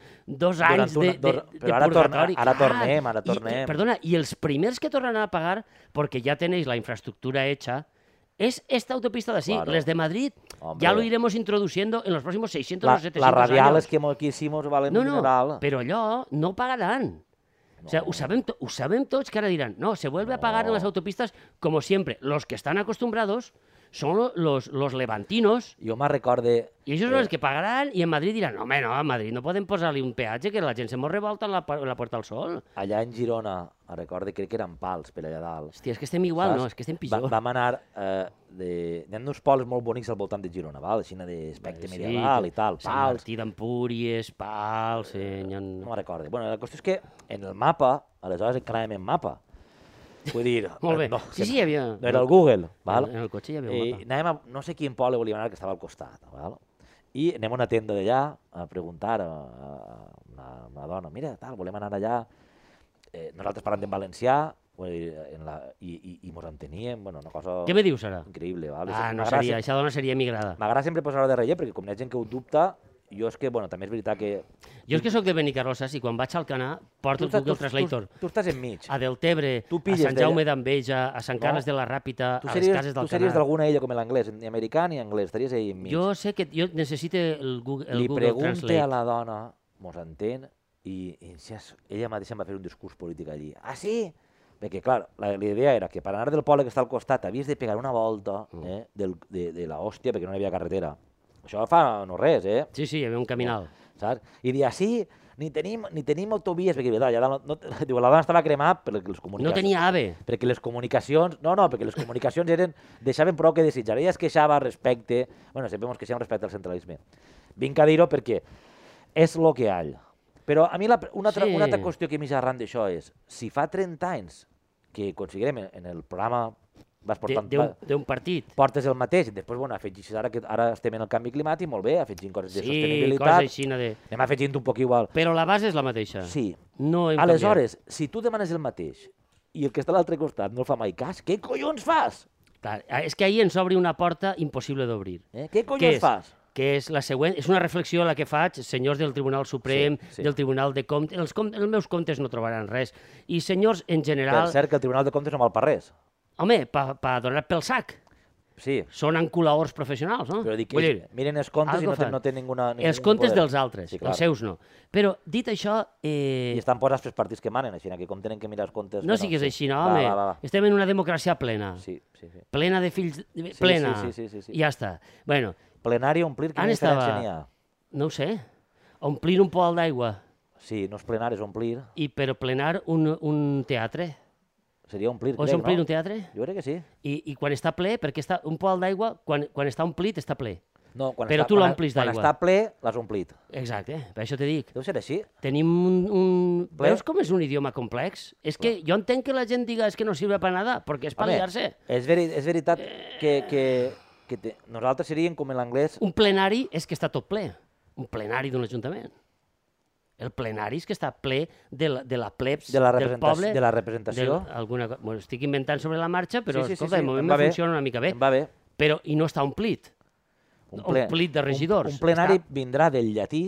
Durant anys de, una- de, dos- de però ara torna- purgatori. ara clar. tornem, ara I, eh, tornem. perdona, i els primers que tornen a pagar, perquè ja tenéis la infraestructura hecha, es esta autopista de sí, Claro. les de Madrid. Hombre. Ya lo iremos introduciendo en los próximos 600 la, o 700 la radial años. és que molt que hicimos valen No, un no, dineral. però allò no pagaran. O sea, ho, sabem to- ho sabem tots que ara diran, no, se vuelve a pagar en las autopistas como siempre. Los que están acostumbrados son lo- los, los levantinos Jo me'n recorde... i ells Eh. són els que pagaran i en Madrid diran, home, no, a Madrid no podem posar-li un peatge que la gent se mos revolta en la, pa- en la Porta al Sol. Allà en Girona, em recorde, crec que eren pals per allà dalt. Hòstia, és que estem igual, saps? no, és que estem pitjor. Va, vam anar... Eh, de... Hi ha uns pols molt bonics al voltant de Girona, val? Així d'aspecte sí, medieval i tal, Sant pals. Martí d'Empúries, pals, eh, n'hi ha... No me'n recordo. Bueno, la qüestió és que en el mapa, aleshores encara anem en mapa. Vull dir... Molt bé. No, Sí, que sí, hi havia- No era el Google, val? en el cotxe hi havia un I mapa. anàvem a, no sé quin poble volíem anar, que estava al costat, val? I anem a una tenda d'allà a preguntar a, a una, una dona, mira, tal, volem anar allà. Eh, nosaltres parlant en valencià, vull dir, en la, i, i, i mos enteníem, bueno, una cosa Què me dius ara? increïble, val? Ah, no M'agrada seria, sempre- aquesta dona seria emigrada. M'agrada sempre posar-ho de relleu, perquè com hi ha gent que ho dubta, jo és que, bueno, també és veritat que... Jo és que sóc de Benicarrossa, i quan vaig al Canà porto el estàs- Google Translator. Tu, tu estàs enmig. A Deltebre, Tu a pilles Sant Jaume d'allà- d'Enveja, a Sant No. Carles de la Ràpita, Tu a les series, cases del tu series Canà. d'alguna ella com l'anglès, ni americà ni anglès, estaries ahí enmig. Jo sé que jo necessite el Google, el Li Google pregunte a Translate. la dona, mos entén, i, i si és- ella mateixa em va fer un discurs polític allí. Ah, sí? Perquè, clar, la, la idea era que per anar del poble que està al costat havies de pegar una volta Mm. eh, del, de, de la hòstia perquè no hi havia carretera. Això fa no res, eh? Sí, sí, hi havia un caminal. Saps? I dir, així, ni tenim, ni tenim autovies, perquè, veritat, allà dalt no, no, diu, la dona estava cremat perquè els No comunicacions... tenia AVE. perquè les comunicacions... No, no, perquè les comunicacions eren, deixaven prou que desitjar. Ella es queixava respecte... bueno, sempre ens queixem respecte al centralisme. Vinc a dir-ho perquè és lo que hi ha. Però a mi la, pre- una, altra, Sí. una altra qüestió que m'hi arran d'això és, si fa 30 anys que aconseguirem en- en el programa vas de- portant, D'un va- d'un partit. portes el mateix, després bueno, afegis ara, que ara estem en el canvi climàtic, molt bé, afegint coses Sí, de cosa sostenibilitat, així Ah. de... anem afegint un poc igual. Però la base és la mateixa. Sí, No hem canviat. Aleshores, si tu demanes el mateix i el que està a l'altre costat no el fa mai cas, què collons fas? Clar, és que ahir ens obri una porta impossible d'obrir. Eh? Què Què collons és? fas? Que és la següent, és una reflexió a la que faig, senyors del Tribunal Suprem, Sí, sí, sí. sí. del Tribunal de Comptes, els, com, els meus comptes no trobaran res. I senyors, en Per general, cert, que el Tribunal de Comptes no val per res. home, pa, pa donar pel sac, Sí, són enculaors professionals, no? però dic que Vull ells miren els comptes i algo no, té, fan. no té ninguna... dir, els ningú comptes poder. dels altres, Sí, sí, clar. els seus no. Però, dit això, I eh, estan posats pels partits que manen, així que com tenen que mirar els comptes... no bueno, siguis sí. així, no, Va, home. Va, va, va. Estem en una democràcia plena, Sí, sí, sí. plena de fills... de- plena. sí, sí, sí, sí. I ja està. Bueno, Plenari o omplir, quina Ara estava- diferència n'hi ha? no ho sé, omplir un poal d'aigua Sí, no és plenar, és omplir. i per plenar un, un teatre. Seria omplir, O és crec, omplir no? un teatre? Jo crec que sí. I, I quan està ple, perquè està un poal d'aigua, quan, quan està omplit, està ple. No, quan Però està, tu quan- l'omplis Quan d'aigua. està ple, l'has omplit. Exacte, per això te dic. Deu ser així? Tenim un... un... Ple. Veus com és un idioma complex? És que jo entenc que la gent diga és que no sirve per nada, perquè és per Home, liar-se. És, veri és veritat que, que que te... nosaltres seríem com en l'anglès Un plenari és que està tot ple. Un plenari d'un ajuntament. El plenari és que està ple de la, de la plebs, de la, del representació, poble... de la representació. Del, alguna, co- bueno, estic inventant sobre la marxa, però sí, sí, escolta, sí, em de moment va me bé, funciona una mica bé. Em va bé. Però, i no està omplit. Un Omplit de regidors. Un, un plenari Està- vindrà del llatí,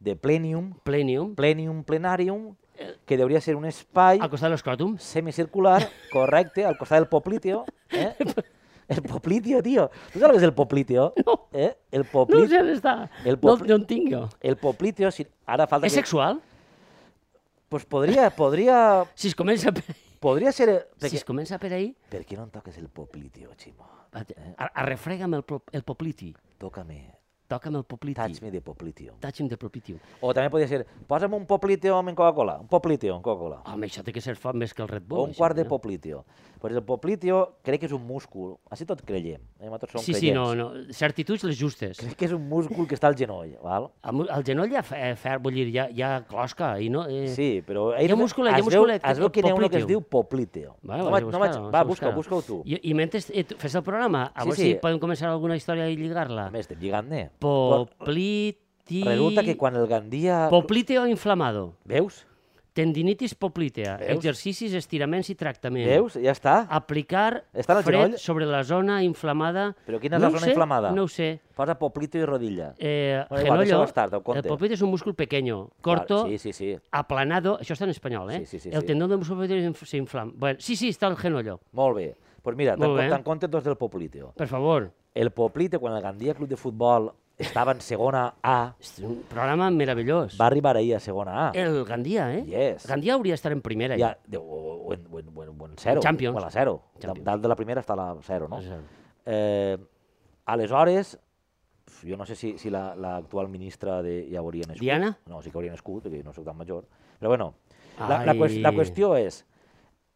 de plenium, Plenium, plenium plenarium, Eh. que hauria ser un espai al costat de l'escròtum. semicircular, correcte, al costat del poplitio. Eh? El poplitio, tio. Tu saps què és el poplitio? No. Eh? El No poplitio. sé on està. El No, poble- no en tinc jo. El poplitio, si ara falta És sexual? Pues podria, podria, Si es comença per, podria ser... eh, si Perquè, es comença per ahí, per què no em toques el poplitio, Ximo? a- arrefrega'm el, pro- el popliti. Tócame, Toca'm el popliti. eh, touch me de poplitio. Touch him the poplitium. O també podria ser, posa'm un poplitio amb en Coca-Cola, un poplitio amb Coca-Cola. Home, això té que ser fort més que el Red O Bull. un això, quart de no? poplitio. Pues el poplitio crec que és un múscul. Així tot creiem. Eh? Nosaltres som Sí, sí, creients. no, no. Certituds les justes. Crec que és un múscul que està al genoll, val? El, mu- el genoll ja, fa- eh, fer, vull dir, ja, ja closca i no... Eh, Sí, però... Hi ha múscul, hi ha es múscul que- veu, es veu que n'hi ha un que es popliteo. diu popliteo. Bueno, no, vaig vaig, a no vaig, buscar-ho, va, vaig a busca, buscar-ho. busca-ho tu. I, i mentre eh, tu fes el programa, a Sí, veure sí. si podem començar alguna història i lligar-la. Més, estem lligant-ne. Popliti... Resulta que quan el Gandia... Popliteo inflamado. Veus? Tendinitis poplitea. Veus? Exercicis, estiraments i tractament. Veus? Ja està. Ah. Aplicar Està en el fred genoll? sobre la zona inflamada. Però quina és la ho zona sé, inflamada? No ho sé. Posa popliteo i rodilla. Eh, Bueno, igual, genollo, deixa-ho estar, ho el conte. popliteo és un múscul pequeño, corto, Sí, sí, sí. aplanado, això està en espanyol, eh? Sí, sí, sí, el sí. tendón de múscul pequeño se inflama. Bueno, sí, sí, està el genollo. Molt bé. Pues mira, Molt bé. te'n compte dos del popliteo. Per favor. El Poplite, quan el Gandia Club de Futbol estava en segona A, És un programa meravellós. va arribar ahir a segona A. El Gandia, eh? Yes. Gandia hauria d'estar en primera. eh? Ja, Ja. de- o, o, en, o, en, o, en, o en zero. Champions. O en la zero. Champions. Dalt de la primera està la zero, no? A zero. Eh, aleshores, uf, jo no sé si, si la- l'actual la, ministra de, ja hauria nascut. Diana? No, sí que hauria nascut, perquè no soc tan major. Però bueno, la, la, qüest, la Ai. qüestió és...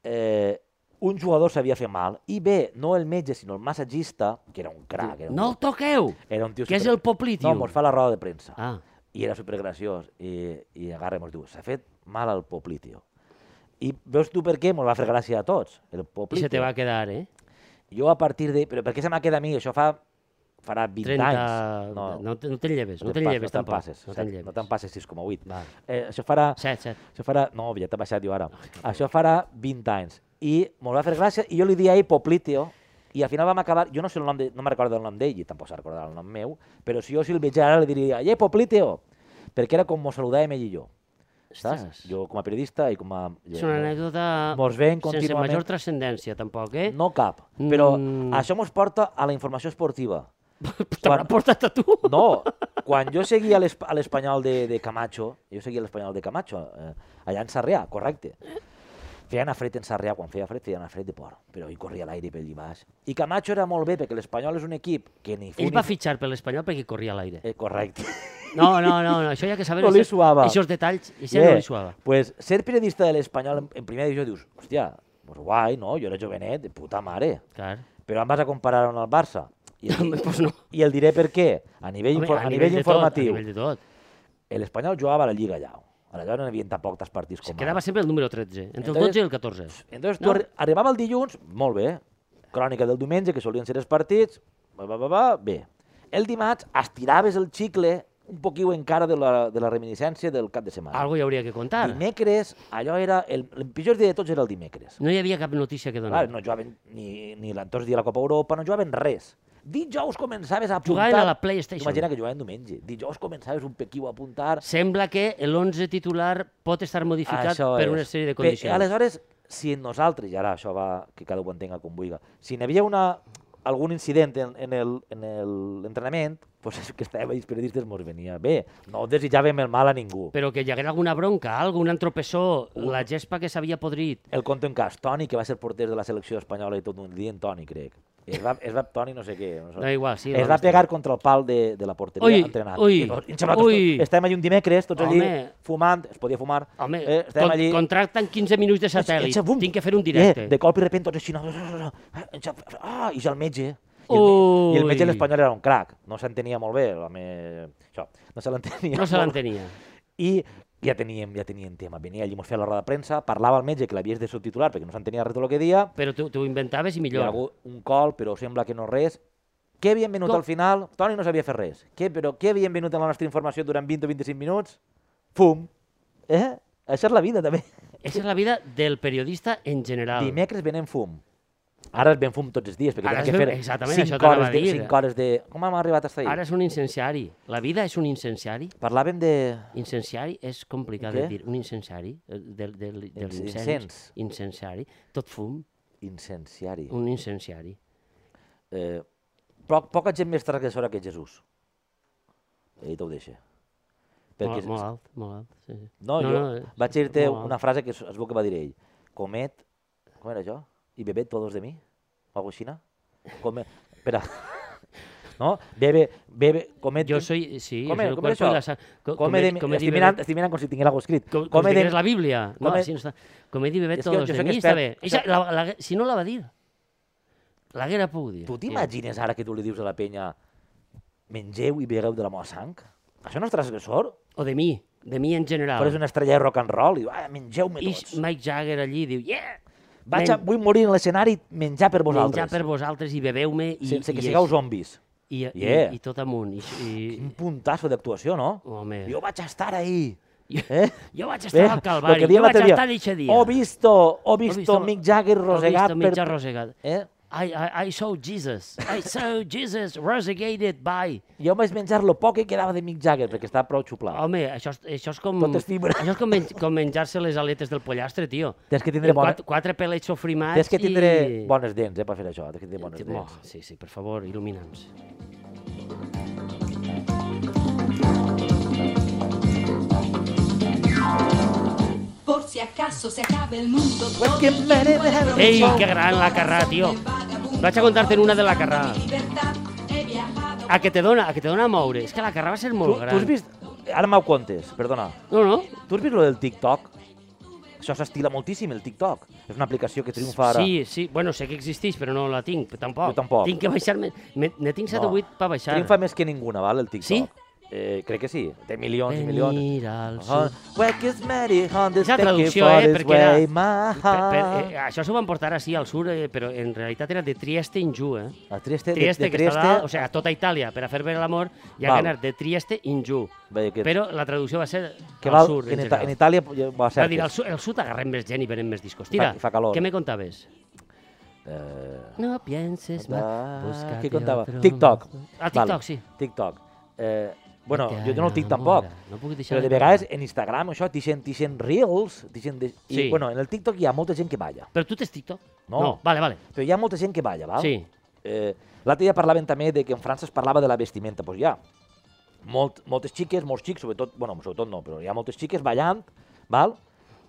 Eh, un jugador s'havia fet mal, i bé, no el metge, sinó el massagista, que era un crac, era un, No el toqueu! era un tio que és el Poplí, No, tio. mos fa la roda de premsa. Ah, I era supergraciós. I, i agarra i mos diu, s'ha fet mal al poplí, tio. I veus tu per què mos va fer gràcia a tots, el i poplí. se te va quedar, eh? Jo a partir de... Però per què se m'ha quedat a mi? Això fa... Farà 20 30... anys. No, no, te- no te'n lleves, no te'n te'n pas- lleves no te'n tampoc. passes, no set- te'n lleves. No te'n passes 6,8. Val. Eh, això farà... Set, set. Això farà... No, ja t'ha baixat jo ara. Ah, Això farà 20 anys. I m'ho va fer gràcia i jo li dia a ell Poplitio i al final vam acabar... Jo no sé el nom de, no me recordo el nom d'ell i tampoc se recordarà el nom meu, però si jo si el veig ara li diria «Ei, Poplitio!» perquè era com mos saludàvem ell i jo. Saps? Ostres. Jo com a periodista i com a... És una anècdota Mos ven sense contínuament. major transcendència, tampoc, eh? No cap, però Mm. això mos porta a la informació esportiva. T'haurà quan- portat a tu? No, quan jo seguia l'Es- a l'Espanyol de, de Camacho, jo seguia l'Espanyol de Camacho, eh, allà en Sarrià, correcte. Feia anar fred en Sarrià, quan feia fred, feia anar fred de por, però hi corria l'aire pel i baix. I Camacho era molt bé, perquè l'Espanyol és un equip que ni... fu Ell ni va fa- fitxar per l'Espanyol perquè corria a l'aire. Eh, correcte. No, no, no, no, això hi ha que saber... No li això- suava. Aquests detalls, i yeah. no li suava. Pues ser periodista de l'Espanyol en, en primera divisió dius, hòstia, pues guai, no? Jo era jovenet, de puta mare. Clar. Però em vas a comparar amb el Barça. I el, Home, doncs no. i el diré per què. A nivell, Home, infor- a nivell, de informatiu. Tot, a nivell de tot. l'Espanyol jugava a la Lliga allà. Aleshores no hi havia tampoc tants partits com Es quedava sempre el número 13, entre el Entonces- 12 i el 14. Entonces, tu No. arri- arribava el dilluns, molt bé, crònica del diumenge, que solien ser els partits, va, va, va, va, bé. El dimarts estiraves el xicle un poquiu encara de la, de la reminiscència del cap de setmana. Algo hi hauria que contar. Dimecres, allò era... El, el pitjor dia de tots era el dimecres. No hi havia cap notícia que donar. Clar, no jugaven ni, ni l'entorn dia de la Copa Europa, no jugaven res. Dijous començaves a apuntar... Jugaven a la PlayStation. Imagina que jugaven diumenge. Dijous començaves un pequiu a apuntar... Sembla que l'11 titular pot estar modificat Això per és. una sèrie de Bé, condicions. aleshores, si en nosaltres, i ara això va que cada un ho entenga com vulgui, si n'hi havia una, algun incident en, en el- en el- l'entrenament, pues és que estàvem els periodistes mos venia bé. No desitjàvem el mal a ningú. Però que hi hagués alguna bronca, algun entropessó, la gespa que s'havia podrit. El conto en cas, Toni, que va ser porter de la selecció espanyola i tot un dia en Toni, crec. Es va, es va Toni no sé què. No, sé. Da igual, sí, Es va va estar. pegar contra el pal de, de la porteria Ui, entrenant. ui, I llavors, i nosaltres ui. tots- Estàvem allà un dimecres, tots allí, Home. fumant, es podia fumar. Home, eh, estàvem con, allí... contracten 15 minuts de satèl·lit. Ens- ens abum- Tinc que fer un directe. Eh, de cop i repent tots així, no, ens ab- ah, i ja el metge. I el, i el Ui. metge l'espanyol era un crac, no s'entenia molt bé, l'home... Això, no se l'entenia. No se molt. l'entenia. I ja teníem, ja teníem tema. Venia allí, mos feia la roda de premsa, parlava al metge que l'havies de subtitular perquè no s'entenia res del que dia, Però tu, tu ho inventaves i hi ha millor. hagut un col, però sembla que no res, Què havien venut Com? al final? Toni no sabia fer res. Què, però què havien venut en la nostra informació durant 20 o 25 minuts? Pum! Eh? Això és la vida, també. Esa és la vida del periodista en general. Dimecres venen fum. Ara es ven fum tots els dies, perquè Ara tenen es que ven- fer exactament, això 5 t'anava hores, a de, dir. 5 hores de... Com hem arribat fins ahir? Ara és un incenciari. La vida és un incenciari. Parlàvem de... Incenciari és complicat Què? de dir. Un incenciari, eh, del, del, dels Inc- incens. incens. Incenciari. Tot fum, Incenciari. un incenciari. Eh, poc, poca gent més transgressora que Jesús. Ell t'ho deixa. Perquè... Perquè Molt, molt alt, molt alt. Sí. sí. No, no, jo eh, vaig dir-te molt alt. una frase que es es veu que va dir ell. Comet, com era jo? I bebet todos de mi? O alguna cosa així? Come... Espera. No? Bebe, bebe, comet... Jo soy, sí, Com jo soy era- el com era cuerpo y això? la sa- co- Come de mi... comed y Estic bebed- mirant, estic mirant com si tingués alguna cosa escrit. Com, com Come si de... digués la Bíblia. No, Come- així no està. Comedi bebé És que todos jo de sóc mi, està expert. bé. Eixa, la, la, si no la va dir, l'haguera pogut dir. Tu Mira, t'imagines ara que tu li dius a la penya mengeu i begueu de la meva sang? Això no és transgressor? O de mi, de mi en general. Però és una estrella de rock and roll i diu, ah, mengeu-me Ix, tots. Mike Jagger allí diu, yeah! Vaig a, vull morir en l'escenari i menjar per vosaltres. Menjar per vosaltres i bebeu-me i, Sense que i, sigueu zombis. i, i, Yeah. i, i, tot amunt. I, i, Quin puntasso d'actuació, no? home, Jo vaig estar ahir. Jo- Eh? jo vaig estar al Calvari, jo vaig estar eixe dia. Ho visto, ho visto, visto- Mick Jagger rosegat Ho he vist per... mitja rosegat. Eh? I, I, I saw Jesus. I saw Jesus rosegated by... Jo vaig menjar lo poc que quedava de Mick Jagger, perquè estava prou xuplat. Home, això, és- això és com... Tot és fibra. Això és com, men com menjar-se les aletes del pollastre, tio. Tens que tindre bona- Quatre, quatre pelets sofrimats Tens que tindre i... bones dents, eh, per fer això. Tens que tindre bones Oh, dents. sí, sí, per favor, il·lumina'ns. Por si acaso se acaba el mundo. Pues que me le dejaron Ei, sol. que gran la Carrà, tio. Vaig a contar-te en una de la Carrà. A que te dona, a que te dona a moure. És que la Carrà va ser Tu, molt gran. tu has vist... Ara m'ho contes, perdona. No, no. Tu has vist lo del TikTok? Això s'estila moltíssim, el TikTok. És una aplicació que triomfa ara. Sí, sí. Bueno, sé que existeix, però no la tinc, tampoc. Jo tampoc. Tinc que baixar-me... Me- Ne tinc 7 o 8 per baixar. Triomfa més que ninguna, val, el TikTok. Sí? Eh, crec que sí. Té milions i Venir milions. al Ah, sud. Wake is Mary on the És la sticky traducció, eh, forest perquè era... way, my Per, per, heart. eh, això s'ho van portar així al sur, eh, però en realitat era de Trieste injú, eh? A Trieste, de- Trieste, de que Trieste, està dalt, o sigui, a tota Itàlia, per a fer veure l'amor, hi ha Val. que anar de Trieste injú. Veia que- Però la traducció va ser que al val, sur, que en, en Ita- en general. Itàlia ja va ser. Va dir, al sud, al sud agarrem més gent i venem més discos. Tira, Fa- fa calor. què me contaves? Eh, No pienses ah, mal, buscate què contava? otro TikTok. más. Ah, TikTok, sí. TikTok. Eh, bueno, Que te jo, jo no el tinc enamora. tampoc. No puc deixar Però de de vegades en Instagram, això, t'ixen t'ixen reels, t'ixen... De... I, Sí. bueno, en el TikTok hi ha molta gent que balla. Però tu tens TikTok? No. vale, vale. Però hi ha molta gent que balla, val? Sí. Eh, L'altre dia parlaven també de que en França es parlava de la vestimenta, doncs hi ha molt, moltes xiques, molts xics, sobretot, bueno, sobretot no, però hi ha moltes xiques ballant, val?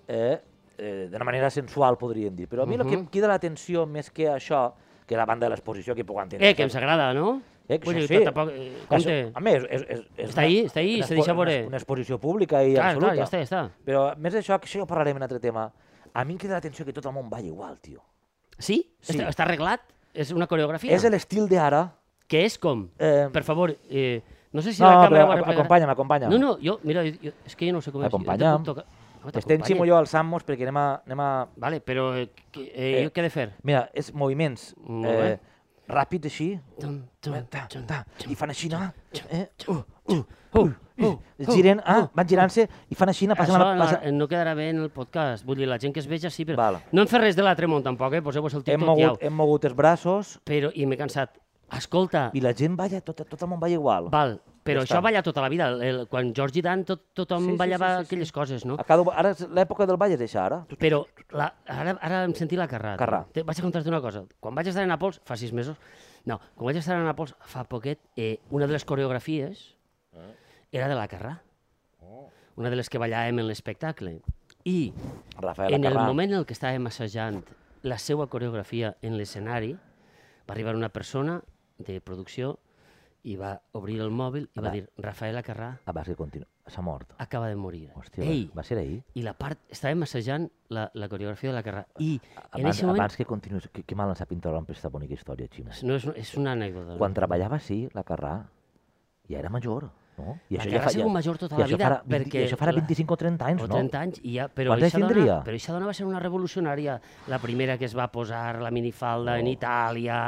Eh, eh, d'una manera sensual, podríem dir. Però a mi el Mhm. que em crida l'atenció més que això, que la banda de l'exposició que puc entendre... Eh, que ens agrada, no? Eh, que Vull això dir, sí. Tampoc, eh, Que compte. això- A més, és, és, és Està ahí, està ahí, una se expo- deixa una- veure. Una exposició pública i Clar, absoluta. clar, ja està, ja està. Però més d'això, que això ja ho parlarem en un altre tema, a mi em crida l'atenció que tot el món balla igual, tio. Sí? Sí. Està, està arreglat? És una coreografia? És l'estil d'ara, Que és com? Eh, Per favor, eh, no sé si No, la no, càmera però ho a- arreglarà. acompanya'm, acompanya'm. No, no, jo, mira, jo, és que jo no sé com és. Acompanya'm. Jo te puc tocar. Home, T'estensimo t'acompanye. jo al Samos perquè anem a... Anem a... Vale, però eh, que- eh, jo què he de fer? Mira, és moviments Molt bé. eh, ràpids així. Tum, tum, Ta, tum, ta, tum, I fan així, no? Eh? Uh, uh, Uh, uh, es giren, ah, van girant-se i fan així, no? Passen Això a la, no- passen... no quedarà bé en el podcast. Vull dir, la gent que es veja sí, però... Val. No hem fet res de la Tremont, tampoc, eh? Poseu-vos el Hem títol, mogut, tiau. hem mogut els braços Però, i m'he cansat. Escolta, i la gent balla, tot, tot el món balla igual. val, però Ja això està. balla tota la vida. El, el- quan George Dan, tot, tothom Sí, sí, ballava sí, sí, sí. aquelles coses, no? A cada... Ara és l'època del ball és això, ara. Però la, ara, ara em sentí la Carrà. tio. Carrà. Te, vaig a contar-te una cosa. Quan vaig estar a Nàpols, fa sis mesos, no, quan vaig estar a Nàpols, fa poquet, eh, una de les coreografies Ah. era de la Carrà. Oh. Una de les que ballàvem en l'espectacle. I Rafael en el Acarrà. moment en el que estàvem assajant la seva coreografia en l'escenari, va arribar una persona de producció i va obrir el mòbil i va dir Rafael Acarrà Ah, va ser continu... S'ha mort. acaba de morir. Hòstia, Ei, va ser ahir? i la part, estàvem assajant la, la coreografia de la Carrà i en Abans, aquest moment abans que continuïs, que, que mal ens ha pintat aquesta bonica història, Xina. no és, és una anècdota. Quan treballava, sí, la Carrà, ja era major. No? I això ja fa, sigut major tota i la això vida. farà vint- perquè I això farà la- 25 o 30 anys, o no? 30 anys, i ja, però Quants anys eixa dona, tindria? però eixa dona va ser una revolucionària, la primera que es va posar la minifalda en Itàlia,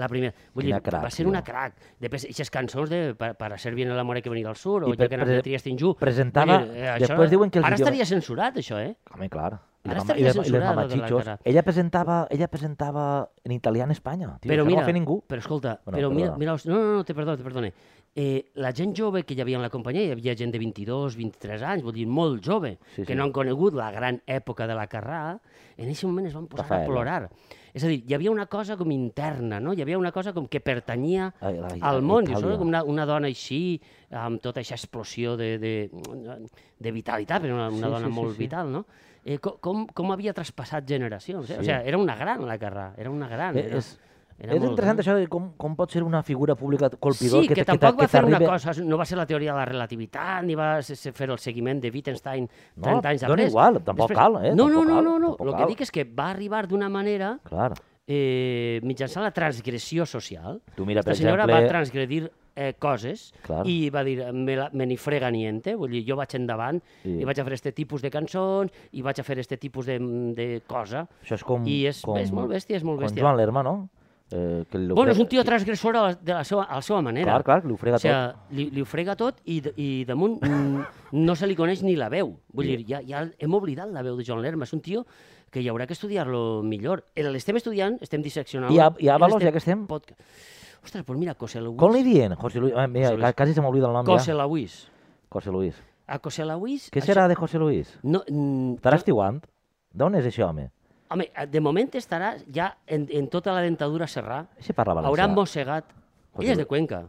la primera... Vull dir, Quina crac, va ser tio. una crac. Després, aquestes cançons de para, para ser bien el amor hay que venir al sur, o I jo pre- que nací pre- de Trias Tinjú. presentava- Vull eh, després diuen que els Ara idiomes- estaria censurat, això, eh? Home, clar. I Ara les estaria mama- i les- i les censurada tota la mamachichos. cara. Ella presentava, ella presentava en italià en Espanya. Tio, però això mira, no ho va fer ningú. però escolta, Bueno, però mira, perdona. mira, els- no, no, no, te perdone, te perdone. Eh, la gent jove que hi havia en la companyia, hi havia gent de 22, 23 anys, vull dir, molt jove, Sí, que sí. no han conegut la gran època de la Carrà, en aquest moment es van posar Rafaela. a plorar. És a dir, hi havia una cosa com interna, no? Hi havia una cosa com que pertanyia A- a- a al món. Dius, Itàlia. "Hola, com una, una dona així, amb tota aquesta explosió de, de, de vitalitat, perquè era una, una Sí, dona sí, sí, molt sí. vital, no? Eh, co- com, com havia traspassat generacions, eh? O Sí. sigui, era una gran la Carrà, era una gran. Eh, Era, és- és interessant això de com, com pot ser una figura pública colpidor Sí, que, t- tampoc t'a- va fer una t'arriba- cosa, no va ser la teoria de la relativitat, ni va ser- ser fer el seguiment de Wittgenstein 30 No, anys dona després. igual, tampoc cal, eh, No, no, no, tampoc cal, no, no. tampoc El que cal. dic és que va arribar d'una manera Clar. eh, mitjançant la transgressió social. Tu mira, la per senyora exemple- va transgredir eh, coses Clar. i va dir, me, la, me ni frega niente, vull dir, jo vaig endavant Sí. i vaig a fer este tipus de cançons i vaig a fer este tipus de, de cosa. Això és com... I és- com, és molt bèstia, és molt bèstia. Com Joan Lerma, no? Eh, que li Bueno, és ofre- un tio que- transgressor a la, de la seva, a la seva manera. Clar, clar, que li ho frega o sigui, tot. Li, li ho frega tot i, d- i damunt mm, no se li coneix ni la veu. Vull dir, ja, ja hem oblidat la veu de John Lerma. És un tio que hi haurà que estudiar-lo millor. Eh, L'estem estudiant, estem disseccionant... I a- i a Avalos, ja que estem? Podcast. Ostres, doncs mira, Coselawis. Com li dient? José Luis. Ah, mira, José Luis. ca- quasi se m'oblida el nom ja. Coselawis. José Luis. A Coselawis... Què serà de José Luis? No, mm, Estarà estiuant? D'on és això, home? home, de moment estarà ja en, en tota la dentadura serrà. Això parla valencià. Haurà mossegat. José Ell és Luis. de Cuenca.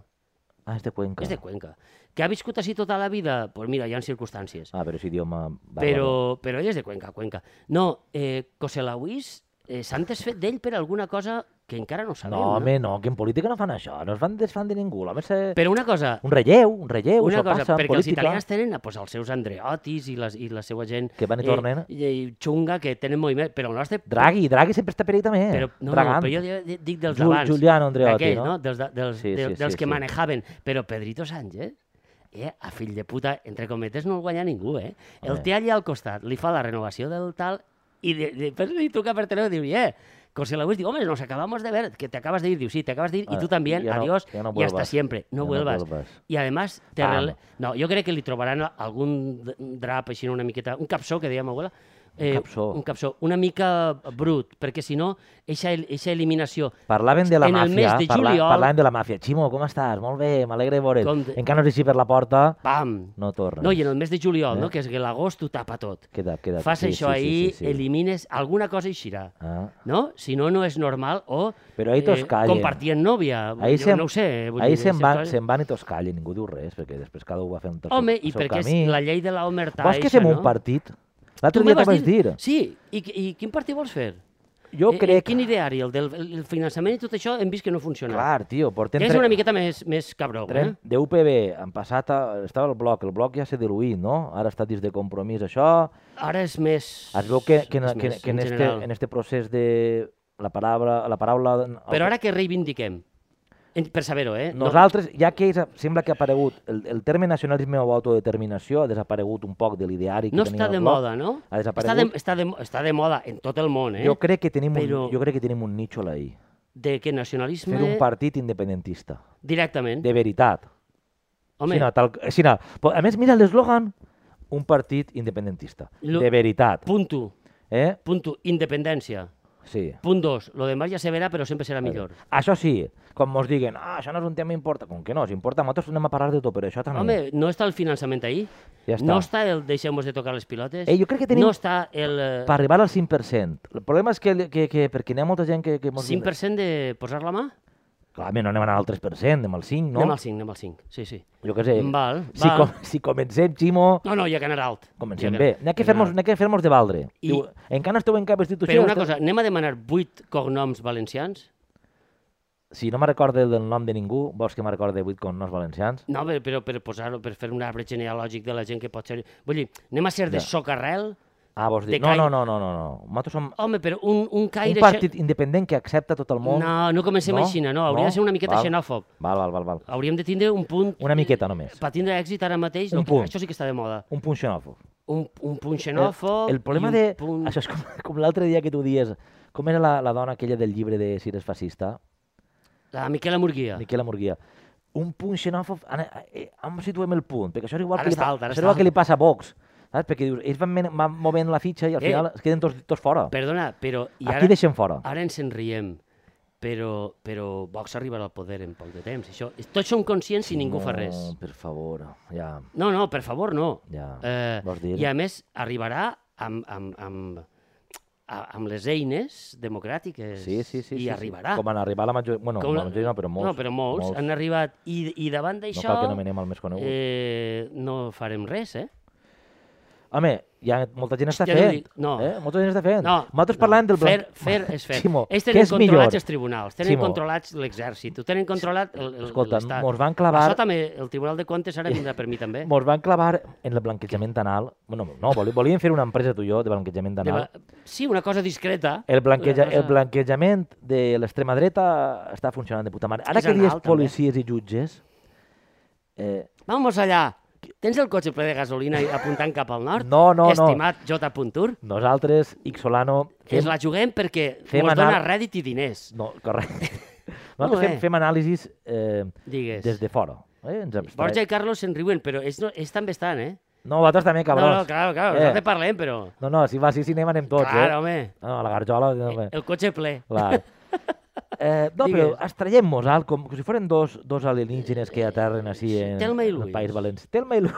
Ah, és de Cuenca. És de Cuenca. Que ha viscut així tota la vida? Doncs pues mira, hi ha circumstàncies. Ah, però és idioma... bàrbaro. però, però ell és de Cuenca, Cuenca. No, eh, Coselawis, eh, s'han desfet d'ell per alguna cosa que encara no sabem. Ah, No, home, no, que en política no fan això. No es fan desfan de ningú. L'home se... Però una cosa, Un relleu, un relleu, una això cosa passa en perquè els política. italians tenen eh, pues, els seus Andreotis i, les, i la seva gent... Que van i tornen. Eh, eh, xunga, que tenen moviment, però el nostre... Draghi, Draghi sempre està per ell també. Però, no, no, Dragant. però jo di- dic dels Giul- d'abans. Giuliano Andreotti, d'aquells, no? no? Dels, de- dels, Sí, sí, sí, sí, sí, dels que sí. manejaven. Però Pedrito Sánchez, eh, a fill de puta, entre cometes, no el guanya ningú, eh? El Home. té allà al costat, li fa la renovació del tal i de, de, després li truca per telèfon i diu, eh, Coselawis, diu, home, nos acabamos de ver, que te acabas de ir. Diu, sí, te acabas de ir, y Ah, tú también, ya no- adiós, ya no y hasta vuelvas. siempre, no Ya no vuelvas. vuelvas. I, además, te Pam. arregle- no, jo crec que li trobaran algun d- drap així una miqueta, un capçó, que deia ma abuela, eh, capçó. un capçó, una mica brut, perquè si no, eixa, el- eixa eliminació... Parlaven de la en el màfia, mes de parla, juliol- parlaven de la màfia. Ximo, com estàs? Molt bé, m'alegre de veure't. Com de- Encara no és així per la porta, Pam! no tornes. No, i en el mes de juliol, Eh? no? que és que l'agost ho tapa tot. Queda, queda. Fas sí, això sí, sí, ahir, sí, sí. elimines, alguna cosa eixirà. Ah. No? Si no, no és normal o eh, Però ahir tots callen. compartien nòvia. Ahir jo se'n- no ho sé. eh, vull dir, Ahir se'n aquestes van, coses- se'n van i tots callen, ningú diu res, perquè després cada un va fer un tercer, Home, el i seu perquè és camí. la llei de la omerta. Vols que eixa, fem no? un partit? Tu L'altre me dia t'ho vas vaig dir. Sí, i, i quin partit vols fer? Jo Eh, crec... Quin ideari? El del el finançament i tot això hem vist que no funciona. Clar, tio, portem... que és tre- una miqueta més, més cabró. Eh? Tren de UPB, han passat, a, estava el bloc, el bloc ja s'ha diluït, no? Ara està dins de compromís això, Ara és més... es veu que, que, en- és que, més, que en, este, general. en este procés de la paraula... La paraula Però ara que reivindiquem, en- per saber-ho, eh? no- Nosaltres, ja que és, sembla que ha aparegut el, el terme nacionalisme o autodeterminació, ha desaparegut un poc de l'ideari que no tenia està de el bloc. moda, no? Està de, Ha desaparegut. està, de, està de moda en tot el món, eh? Jo crec que tenim, Però- un, jo crec que tenim un nítxol ahir. De que nacionalisme... Fer un partit independentista. Directament. De veritat. Home, Sina, tal, eh, sina. A més, mira l'eslògan. Un partit independentista. Lo- De veritat. punt 1, Eh? punt 1, independència. Sí. Punt 2, lo demás ja se verà, però sempre serà millor. Això sí, quan mos diguen, ah, això no és un tema important, com que no, s'importa, nosaltres anem a parlar de tot, però això també. Home, no està el finançament ahí. Ja està. No està el deixem-nos de tocar les pilotes. Eh, jo crec que tenim- No està el eh, Per arribar al 5%. El problema és que, que, que perquè n'hi ha molta gent que... que mos diu- 5% de posar la mà? Clar, home, no anem anar al 3%, anem al 5, no? Anem al 5, anem al 5. Sí, sí. Jo què sé. Val, si, val. com, si comencem, Ximo, No, no, hi ha que anar alt. comencem Hi ha bé. hi N'hi ha ha que fer-nos anar alt. n'hi ha que fer-nos de valdre. I- Diu, encara no esteu en cap institució. Però una esteu-" cosa, anem a demanar 8 cognoms valencians? Si no me recorda el del nom de ningú, vols que me recorde 8 cognoms valencians? No, però, però per posar-ho, per fer un arbre genealògic de la gent que pot ser... Vull dir, anem a ser de Ja. socarrel, Ah, vols dir... de No, cany. no, no, no, no, no. Nosaltres som Home, però un, un un caire... xe- partit independent que accepta tot el món. No, no comencem així, no, hauria de ser una miqueta val. xenòfob. Val, val, val, val. Hauríem de tindre un punt... Una miqueta només. Per tindre èxit ara mateix, Un no, punt. això sí que està de moda. Un punt xenòfob. Un, un punt El- xenòfob... El problema i un de... Punt... Això és com, com l'altre dia que tu dies... Com era la, la dona aquella del llibre de Si eres fascista? La Miquela Murguia. Miquela Murguia. Un punt xenòfob... Ana, eh, on situem el punt? Perquè això és igual, Ara que li, està pa- alt, ara això està és igual que alt. li passa a Vox. Saps? Perquè dius, ells van, men- van movent la fitxa i al Eh, final es queden tots, tots fora. Perdona, però... I Aquí deixem fora. Ara ens en riem, però, però Vox arribarà al poder en poc de temps. Això, tots som conscients i ningú no, fa res. per favor, ja... No, no, per favor, no. Ja, Eh, vols dir? I a més, arribarà amb, amb, amb, a- amb les eines democràtiques. Sí, sí, sí. I sí, arribarà. Sí. Com han arribat la majoria... Bueno, Com la majoria no, però molts. No, però molts, han arribat. I, i davant No d'això... cal que anomenem el més conegut. Eh... eh, no farem res, eh? Home, hi ha molta gent està Ja no fent. dic- no. Eh? Molta gent està fent. No, Nosaltres no, parlem del... Fer, fer és fer. Ximo, Ells què tenen és millor? controlats els tribunals, tenen Ximo. controlats l'exèrcit, ho tenen controlat el- el- Escolta, l'estat. mos van clavar- Això també, el Tribunal de Comptes ara vindrà per mi també. Mos van clavar en el blanquejament anal. Bueno, no, voli- volíem fer una empresa tu i jo de blanquejament De anal. va- Sí, una cosa discreta. El, blanqueja, Una cosa- el blanquejament de l'extrema dreta està funcionant de puta mare. Ara És que anal, dies també. policies i jutges, eh, Vamos allà. Tens el cotxe ple de gasolina i apuntant cap al nord? No, no, no. Estimat J. Puntur, nosaltres, Ixolano... ens la juguem perquè fem ens dona anar- rèdit i diners, No, correcte. Molt Nosaltres fem, bé. fem anàlisis eh, digues. des de fora. Eh? Ens abstraem. Borja i Carlos se'n riuen, però ells, no, ells també estan, eh? No, vosaltres també, cabrons. No, no, clar, clar, Eh. nosaltres parlem, però... No, no, si va, si cinema anem tots, clar, eh? home, No, no, la garjola... No, eh, el cotxe ple. Clar. Eh, no, però Digues. estrellem-nos alt, com, com si foren dos, dos alienígenes que aterren així en, Telma i en el Luis. País València. Telma i Luis.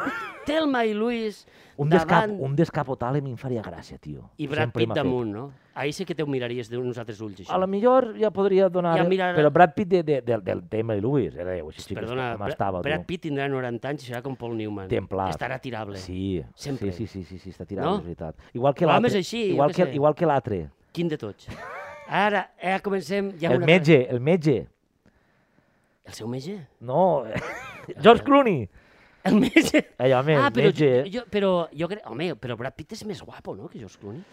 Telma i Luis Un, descap, davant un descapotable a mi em faria gràcia, tio. i Brad Sempre Pitt m'ha fet. damunt, no? Ahir sí que te ho miraries d'uns altres ulls, A això. lo millor ja podria donar... Ja mirar- Però Brad Pitt de, de, del, del tema i Lewis, era Déu, així sí que Perdona, com Bra- estava, tu. Brad Pitt tindrà 90 anys i serà com Paul Newman. Templar. Estarà tirable. Sí, Sempre. sí, sí, sí, sí, sí està tirant, No? és veritat. Igual que Però home, l'altre. és així, jo igual, què que, sé. igual que l'altre. Quin de tots? Ara, ja comencem... Ja El metge, el metge. El seu metge? No, George Clooney. El metge? Ei, home, ah, Eh, el però, metge... jo, jo, però jo crec... Home, però Brad Pitt és més guapo, no?, que George Clooney.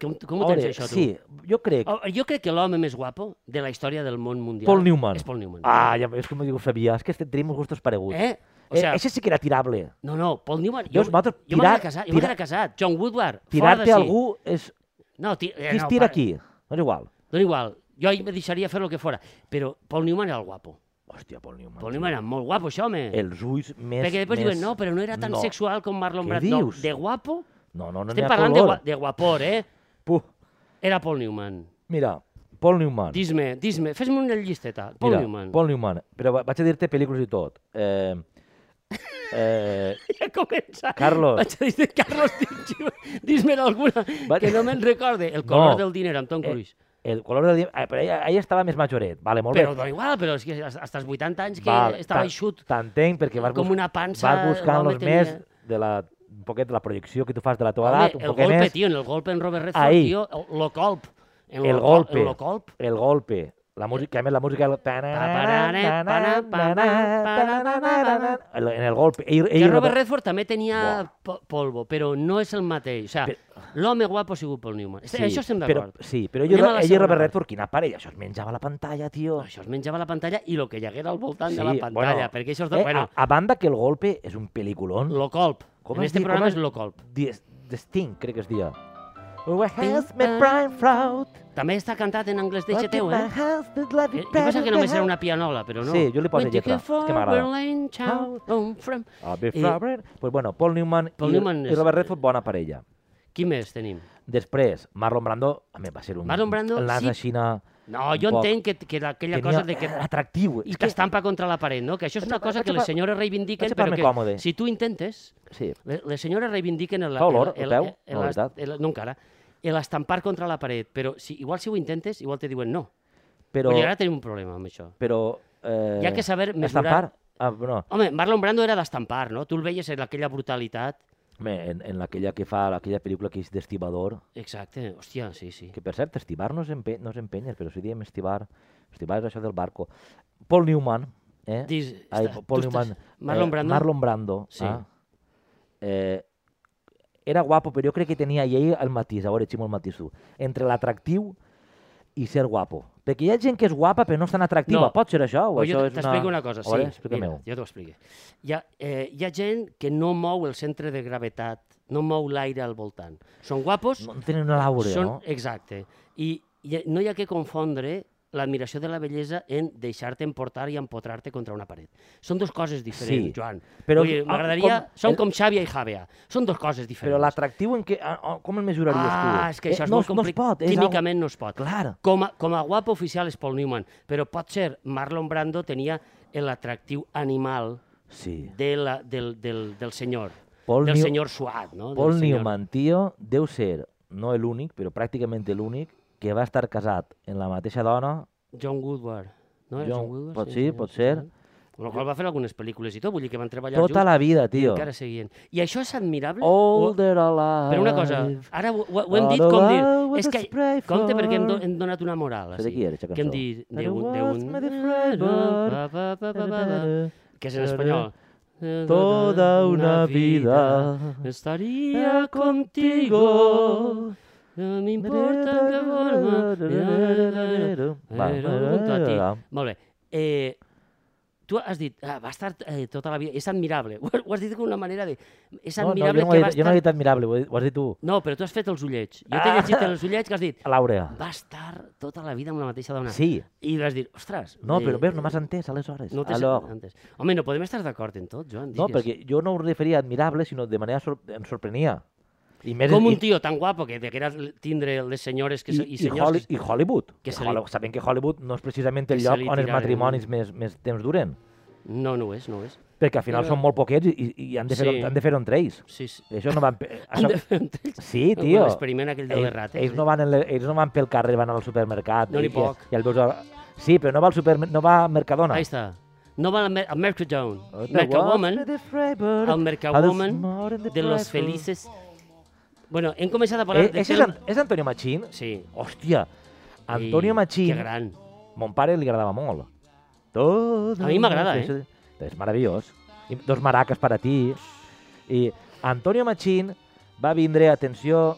Com, com ho Ore, tens, això, tu? Eh, Sí, jo crec... Oh, jo crec que l'home més guapo de la història del món mundial... Paul Newman. És Paul Newman. Ah, ja és com ho sabia, és que este- tenim uns gustos pareguts. Eh? O Eh, sea, Eixe sí que era tirable. No, no, Paul Newman... Llavors, nosaltres, jo m'he tirar- casat, jo tirar- m'he casat. John Woodward, fora de si. Tirar-te a algú és... No, ti, eh, Qui es no, tira para- aquí? No és igual. Dona igual, jo ahir me deixaria fer el que fora. Però Paul Newman era el guapo. Hòstia, Paul Newman. Paul Newman era molt guapo, això, home. Els ulls més... Perquè després més... diuen, no, però no era tan sexual com Marlon Què Brando. No, dius? de guapo, No, no, no n'hi estem ha parlant de, color. gua- de guapor, eh? Puh. Era Paul Newman. Mira, Paul Newman. Dis-me, dis-me, fes-me una llisteta. Paul Mira, Newman. Paul Newman. Però va- vaig a dir-te pel·lícules i tot. Eh, eh, Ja comença. Carlos. Vaig a dir, Carlos, dis- dis-me'n alguna Va- que no me'n recorde. El color No. del diner amb Tom Cruise. eh, el color del dia... Ah, però ahir, ahir estava més majoret. Vale, molt però bé. dona igual, però és que fins als 80 anys que Val, estava t'en- eixut. T'entenc, perquè vas, Com bus- una pança, vas buscant l'home los tenia- més de la, un poquet de la projecció que tu fas de la teva Home, edat, un el poquet golpe, més. tio, en el golpe en Robert Redford, Ahí. tio, el- lo colp. En el lo, golpe. En lo colp. El golpe. La música, a més, la música... El, en el golpe. Ell, Que ell Robert Redford també tenia Buah. po- polvo, però no és el mateix. O sigui, l'home guapo ha sigut Paul Newman. Sí, això estem però, d'acord. sí, però ell, Anem a la ell i segona Robert part. Redford, quina parella, això es menjava la pantalla, tio. Això es menjava la pantalla i el que hi haguera al voltant de la pantalla, perquè això és... De... eh, bueno, a, a, banda que el golpe és un peliculón, lo colp. Com en es este diu? Com programa es- és lo colp. Dies- de Sting, crec que es dia. Our house house made made prime float. També està cantat en anglès de teu, eh? Eh, Jo pensava que només era una pianola, però no. Sí, jo li poso When you lletra, go for que m'agrada. Ah. Berlin, ciao, home, from- I- Pues bueno, Paul Newman, Eh, Paul i, Newman i és- Robert Redford, bona parella. Qui més tenim? Després, Marlon Brando, home, va ser un... Marlon Brando, el nas sí. de Xina... No, jo un poc. entenc que, que la- aquella Tenia- cosa de que... era atractiu. I És que estampa contra la paret, no? Que això és una Vaig a- cosa vaig que a les par- senyores reivindiquen, vaig a però par-me que còmode. si tu intentes, Sí. le- les senyores reivindiquen... El, Fa olor, el, el peu? el- el- No, veritat. el- no, encara. El estampar contra la paret, però si, igual si ho intentes, igual te diuen no. Però... Però... Vull dir, ara tenim un problema amb això. però eh, Hi ha que saber mesurar- Estampar? Ah, no, Home, Marlon Brando era d'estampar, no? Tu el veies en aquella brutalitat. home, en, en aquella que fa, aquella pel·lícula que és d'estibador, Exacte, hòstia, sí, sí. que per cert, estibar no és, empe no és empenyer, però si diem estibar, estibar és això del barco. Paul Newman, eh? Dis, Ai, està- Paul tu eh, estàs- Newman. Marlon Brando? Marlon Brando. Sí. Ah. Eh, era guapo, però jo crec que tenia i ell el matís, a veure, Ximo, el matís tu, entre l'atractiu i ser guapo. Perquè hi ha gent que és guapa però no és tan atractiva. No. Pot ser això? O O jo això és t'explico una... cosa, A sí. veure, explica-m'ho. mira, jo t'ho explico. Hi ha, eh, hi ha gent que no mou el centre de gravetat, no mou l'aire al voltant. Són guapos, No en tenen una àurea, són... no? Exacte. I, I no hi ha que confondre l'admiració de la bellesa en deixar-te emportar i empotrar-te contra una paret. Són dues coses diferents, Sí, Joan. però- Vull dir, ah, M'agradaria... com- Són el- com Xàbia i Javea. Són dues coses diferents. Però l'atractiu en què... ah, ah, Com el mesuraries tu? Ah, és que això Eh, és no, molt complicat. No es pot. És algo- Químicament no es pot. Clar. Com a, com a guapo oficial és Paul Newman, però pot ser Marlon Brando tenia l'atractiu animal Sí. de la, del, del, del senyor. Paul del New- senyor suat, no? Del Paul senyor- Newman, tio, deu ser, no l'únic, però pràcticament l'únic, que va estar casat en la mateixa dona. John Woodward. No era John- John Woodward? pot ser, pot ser. Amb la qual va fer algunes pel·lícules i tot, vull dir que van treballar Tota junts la vida, Oh, i tio. encara seguien. I això és admirable? o- Older alive. Però una cosa, ara ho, ho, ho hem dit com dir... És que, compte perquè hem, do, hem donat una moral. Això de qui era, aquesta Que hem cançó? dit... That Déu, was my favorite. Déu, que és en espanyol. Toda una vida estaría contigo. No me importa que forma. Va. Era junto a ti. Molt bé. Eh, tu has dit, ah, va estar eh, tota la vida... És admirable. Ho, has- ho has dit d'una manera de... És No, no, jo admirable no ho he que dit- va jo no estar... he dit admirable, ho he- ho has dit Ah. tu. No, però tu has fet els ullets. Jo t'he llegit els ullets que has dit L'àurea. va estar tota la vida amb la mateixa dona. Sí. I vas dir, ostres... No, però veus, no m'has... m'has entès, aleshores. No t'he Alors. antes. Home, no podem estar d'acord en tot, Joan. No, digues. perquè jo no ho referia a admirable, sinó de manera sor em sorprenia. I més Com i- un tio tan guapo que que era tindre les senyores que, i, se- i i, i, Holly, senyors... i Hollywood. que Que se li- Hollywood. Sabem que Hollywood no és precisament que el se lloc li on els tiraren. matrimonis més, més temps duren, No, no ho és, no ho és. perquè al final Però- són molt poquets i, i, i han de fer Sí. sí. han de fer entre ells. Sí, sí. I Això no van... pe- Han Això... de fer entre ells Sí, tio. L'experiment aquell de les rates. eh? ells, no van en le... ells no van pel carrer, van al supermercat. No n'hi i, poc. I el veus a... Sí, però no va al supermer... no va a Mercadona. Ahí està. No va al Mer- al Mercadown. Oh, the Mercawoman, world is the el Freiburg, how the smart Mercawoman and the de los playful. felices... Bueno, hem començat a parlar Eh, de... és, és, film. An- és Antonio Machín? Sí. Hòstia, Antonio Ei, Machín, Que gran. mon pare li agradava molt. Tot A mi m'agrada, eh? És meravellós. I dos maraques per a ti. I Antonio Machín va vindre, atenció,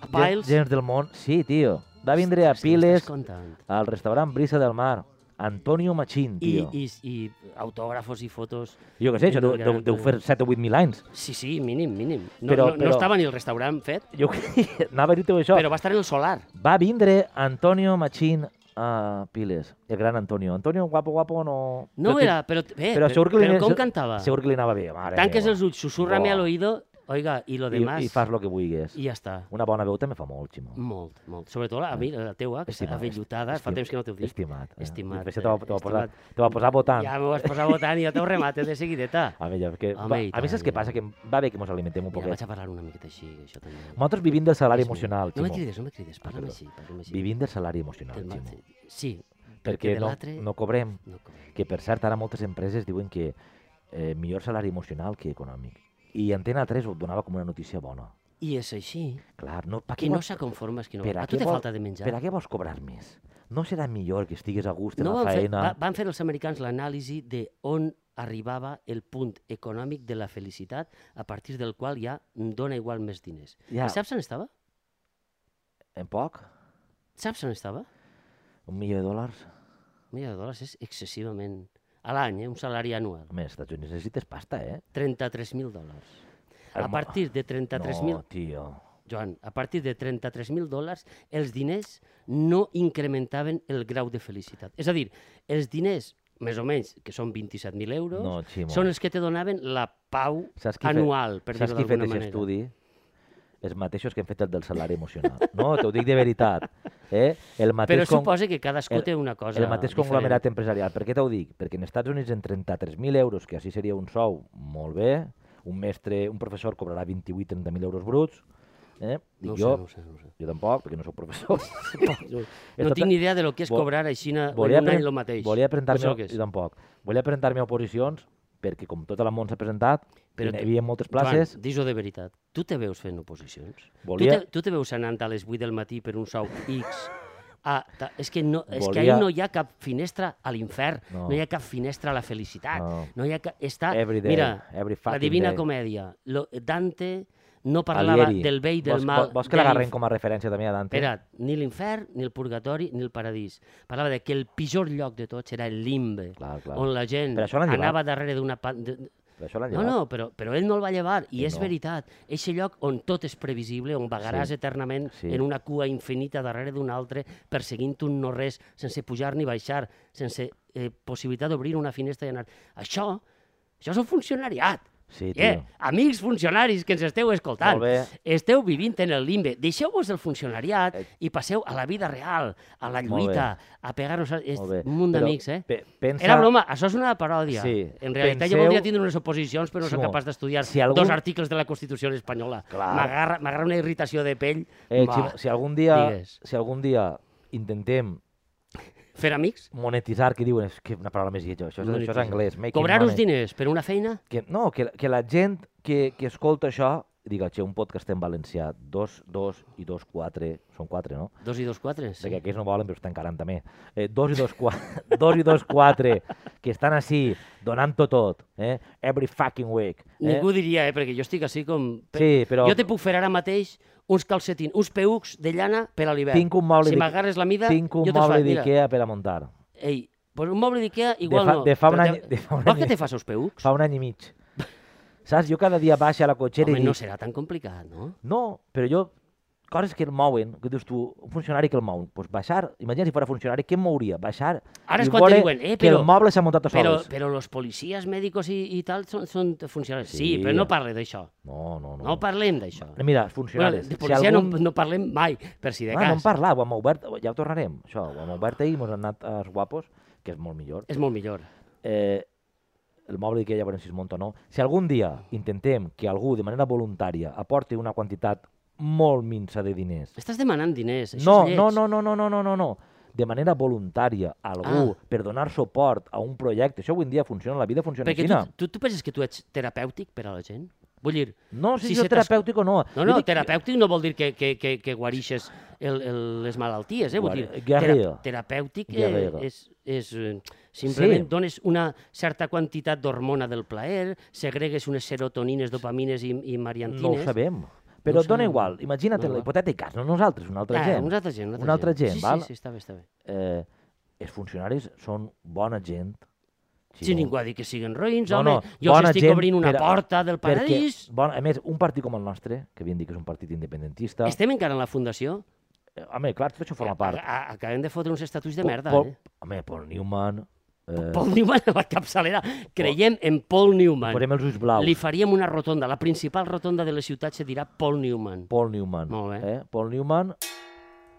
A gen- Piles. gens del món. Sí, tio. Va vindre a És que m'estàs Piles, contant. al restaurant Brisa del Mar. Antonio Machín, I, tio. I, i, i autògrafos i fotos... jo què sé, això deu, Antonio deu, deu fer Machín. 7 7 o 8 mil anys. Sí, sí, mínim, mínim. No, Però- però, no, però- no estava ni el restaurant fet, Jo anava a dir-te això. però va estar en el solar. Va vindre Antonio Machín a Piles, el gran Antonio. Antonio, guapo, guapo, no... No Però que- era, però... Bé, però, segur que li, Eh, però anava- com segur- cantava? Segur que li anava bé, mare Tanques meva. els ulls, susurrame Buah. al oído, oiga, i lo demás... I, I fas el que vulguis. I ja està. Una bona veu també fa molt, Ximó. Molt, molt. Sobretot a mi, la teua, que està Estimat, avellutada, fa estim- temps que no t'ho dic. Estimat. Eh? Estimat, Això te va, te va eh, posar, estimat. te va posar votant. Ja m'ho vas posar votant i jo t'ho remate de seguideta. A mi, ja, perquè, Home, va, i a mi tant, saps què ja. passa? Que em va bé que ens alimentem un Mira, vaig poquet. a parlar una miqueta així, això també. Nosaltres vivim del salari És meu. emocional, No me Ximó. crides, no me crides, parla'm així, parla'm així. Vivim del salari Del emocional, mal- Ximó. Sí, Perquè de no, l'altre- no cobrem. no com- Que, per cert, ara moltes empreses diuen que eh, millor salari emocional que econòmic. I Antena 3 ho donava com una notícia bona. I és així. Clar, no, pa Qui què no vols- s'aconforma és qui no... per A què tu te vol- falta de menjar. Per a què vols cobrar més? No serà millor que estigues a gust en No la van, fer, feina? va, van fer els americans l'anàlisi de on arribava el punt econòmic de la felicitat a partir del qual ja dona igual més diners. Ja. I saps on estava? En poc? Saps on estava? Un milió de dòlars? Un milió de dòlars és excessivament... A l'any, eh? un salari anual. Home, als Estats Units necessites pasta, eh? 33.000 dòlars. El A mo- partir de 33.000... No, tio. Joan, a partir de 33.000 dòlars, els diners no incrementaven el grau de felicitat. És a dir, els diners, més o menys, que són 27.000 euros, No, Ximo. són els que te donaven la pau Saps qui fe- anual, per Saps dir-ho qui ha fet d'alguna manera. aquest estudi? Els mateixos que hem fet el del salari emocional. No, t'ho dic de veritat. Eh? El mateix Però con- suposa que cadascú el- té una cosa El mateix conglomerat empresarial. Per què t'ho dic? Perquè en Estats Units en 33.000 euros, que així seria un sou molt bé, un mestre, un professor cobrarà 28-30.000 euros bruts, eh? Dic No ho sé, jo, no ho sé, no ho sé. jo tampoc, perquè no sóc professor. No, no tinc ni idea de lo que és Vol- cobrar a Xina volia en un any apren- el mateix. Volia Això presentar-me, que és. jo tampoc, volia presentar-me a oposicions, perquè com tota la món s'ha presentat, Però Però hi tu- havia moltes places, Joan, dis-ho de veritat. Tu te veus fent oposicions? Volia- Tu, te, tu te veus anant a les 8 del matí per un sou X a... ta- És que, no, és que Volia- ahir no hi ha cap finestra a l'infern, No. no. hi ha cap finestra a la felicitat. No. No, hi ha ca... Està... Every day, Mira, every la fucking Divina day. Comèdia. Lo... Dante no parlava Alighieri. del bé i del vols, mal. Vols, vols que de l'agarrem l'inf- com a referència també a Dante? Espera, ni l'infern, ni el purgatori, ni el paradís. Parlava de que el pitjor lloc de tots era el limbe, Clar, clar. on la gent Però això l'han anava llevat. darrere d'una... pa- de- de- Per això l'han No, llevat. no, però, però ell no el va llevar, i Eh, és no. veritat. És el lloc on tot és previsible, on vagaràs Sí, eternament sí. en una cua infinita darrere d'un altre, perseguint un no-res, sense pujar ni baixar, sense eh, possibilitat d'obrir una finestra i anar... Això, això és un funcionariat. Sí, tio. Eh, amics funcionaris que ens esteu escoltant, Molt bé. esteu vivint en el limbe, deixeu-vos el funcionariat Eh. i passeu a la vida real, a la Molt lluita, a pegar-nos... a- És Molt bé. un munt Però d'amics, eh? pe- pensa- Era broma, això és una paròdia. Sí. En realitat Penseu- jo voldria tindre unes oposicions, però no Simó, sóc capaç d'estudiar si algun- dos articles de la Constitució espanyola. Clar. M'agarra m'agarra una irritació de pell. Eh, va, si, si, algun dia, digues. si algun dia intentem Fer amics? monetitzar, que diuen, és que una paraula més lletja, això, és- això és Monetitzar. anglès. making Cobrar-vos money. diners per una feina? Que, no, que, que la gent que, que escolta això diga, che, un podcast en valencià, dos, dos i dos, quatre, són quatre, no? Dos i dos, quatre? Sí. Sí. Perquè aquells no volen, però es tancaran també. Eh, dos, i dos, quatre, dos i dos, quatre, que estan així, donant-ho tot, eh? every fucking week. Eh? Ningú diria, eh, perquè jo estic així com... Sí, però- Jo te puc fer ara mateix uns calcetins, uns peucs de llana per a l'hivern. Tinc un Si moble d'I- m'agarres la mida, Tinc un jo te'ls moble faig. Mira, d'Ikea per a muntar. ei, pues un moble d'Ikea igual fa- no. de fa un però any- de fa un Vols any- que te fas els peucs? Fa un any i mig. Saps? Jo cada dia baix a la cotxera Home, i dic... no serà tan complicat, no? No, però jo, coses que el mouen, que dius tu, un funcionari que el mou, doncs baixar, imagina si fora funcionari, què em mouria? Baixar Ara és i quan te veure diuen, eh, que però- el moble s'ha muntat a Però, soles. però los policies, mèdics i, i tal són, són funcionaris. Sí, Sí. però no parle d'això. No, no, no. No parlem d'això. Mira, els Bueno, funcionaris, de si policia algun... no, no parlem mai, per si de ah, no en cas. parlar, ho hem obert, ja ho tornarem, això, ho hem obert ahir, mos han anat als guapos, que és molt millor. És molt millor. Eh, el moble que ja veurem si es munta o no. Si algun dia intentem que algú, de manera voluntària, aporti una quantitat molt minsa de diners Estàs demanant diners, això No, és lleig. no, no, no, no, no, no, no, no. De manera voluntària, Ah. algú, per donar suport a un projecte. Això avui en dia funciona, la vida funciona Perquè així. tu, tu, tu penses que tu ets terapèutic per a la gent? Vull dir... No sé si, si si és se t'es- terapèutic o no. No, Jo no, dic- terapèutic no vol dir que, que, que, que guarixes el, el, les malalties, eh? Vull dir, Guari- guerrero. terapèutic eh, Guerrero. és, és eh, simplement Sí. sí. dones una certa quantitat d'hormona del plaer, segregues unes serotonines, dopamines i, i mariantines. No ho sabem. Però ho dona sabem. igual, imagina't No, va. l'hipotètic cas, no nosaltres, una altra Ah, gent. Una altra gent. Una altra gent, sí, val? Sí, sí, està bé, està bé. Eh, els funcionaris són bona gent. Si sí, no- ningú ha dit que siguin roïns, No, home, no, jo els bona estic gent obrint una per a- porta del paradís. Perquè, bon, a més, un partit com el nostre, que havien dit que és un partit independentista... Este... Estem encara en la fundació. Home, clar, tot això forma part. A, a, acabem de fotre uns estatuts de merda, Paul, eh? Home, Paul Newman... Eh, Paul Newman a la capçalera. Creiem en Paul Newman. Posem els ulls blaus. Li faríem una rotonda. La principal rotonda de la ciutat se dirà Paul Newman. Paul Newman. Molt bé. Eh? Paul Newman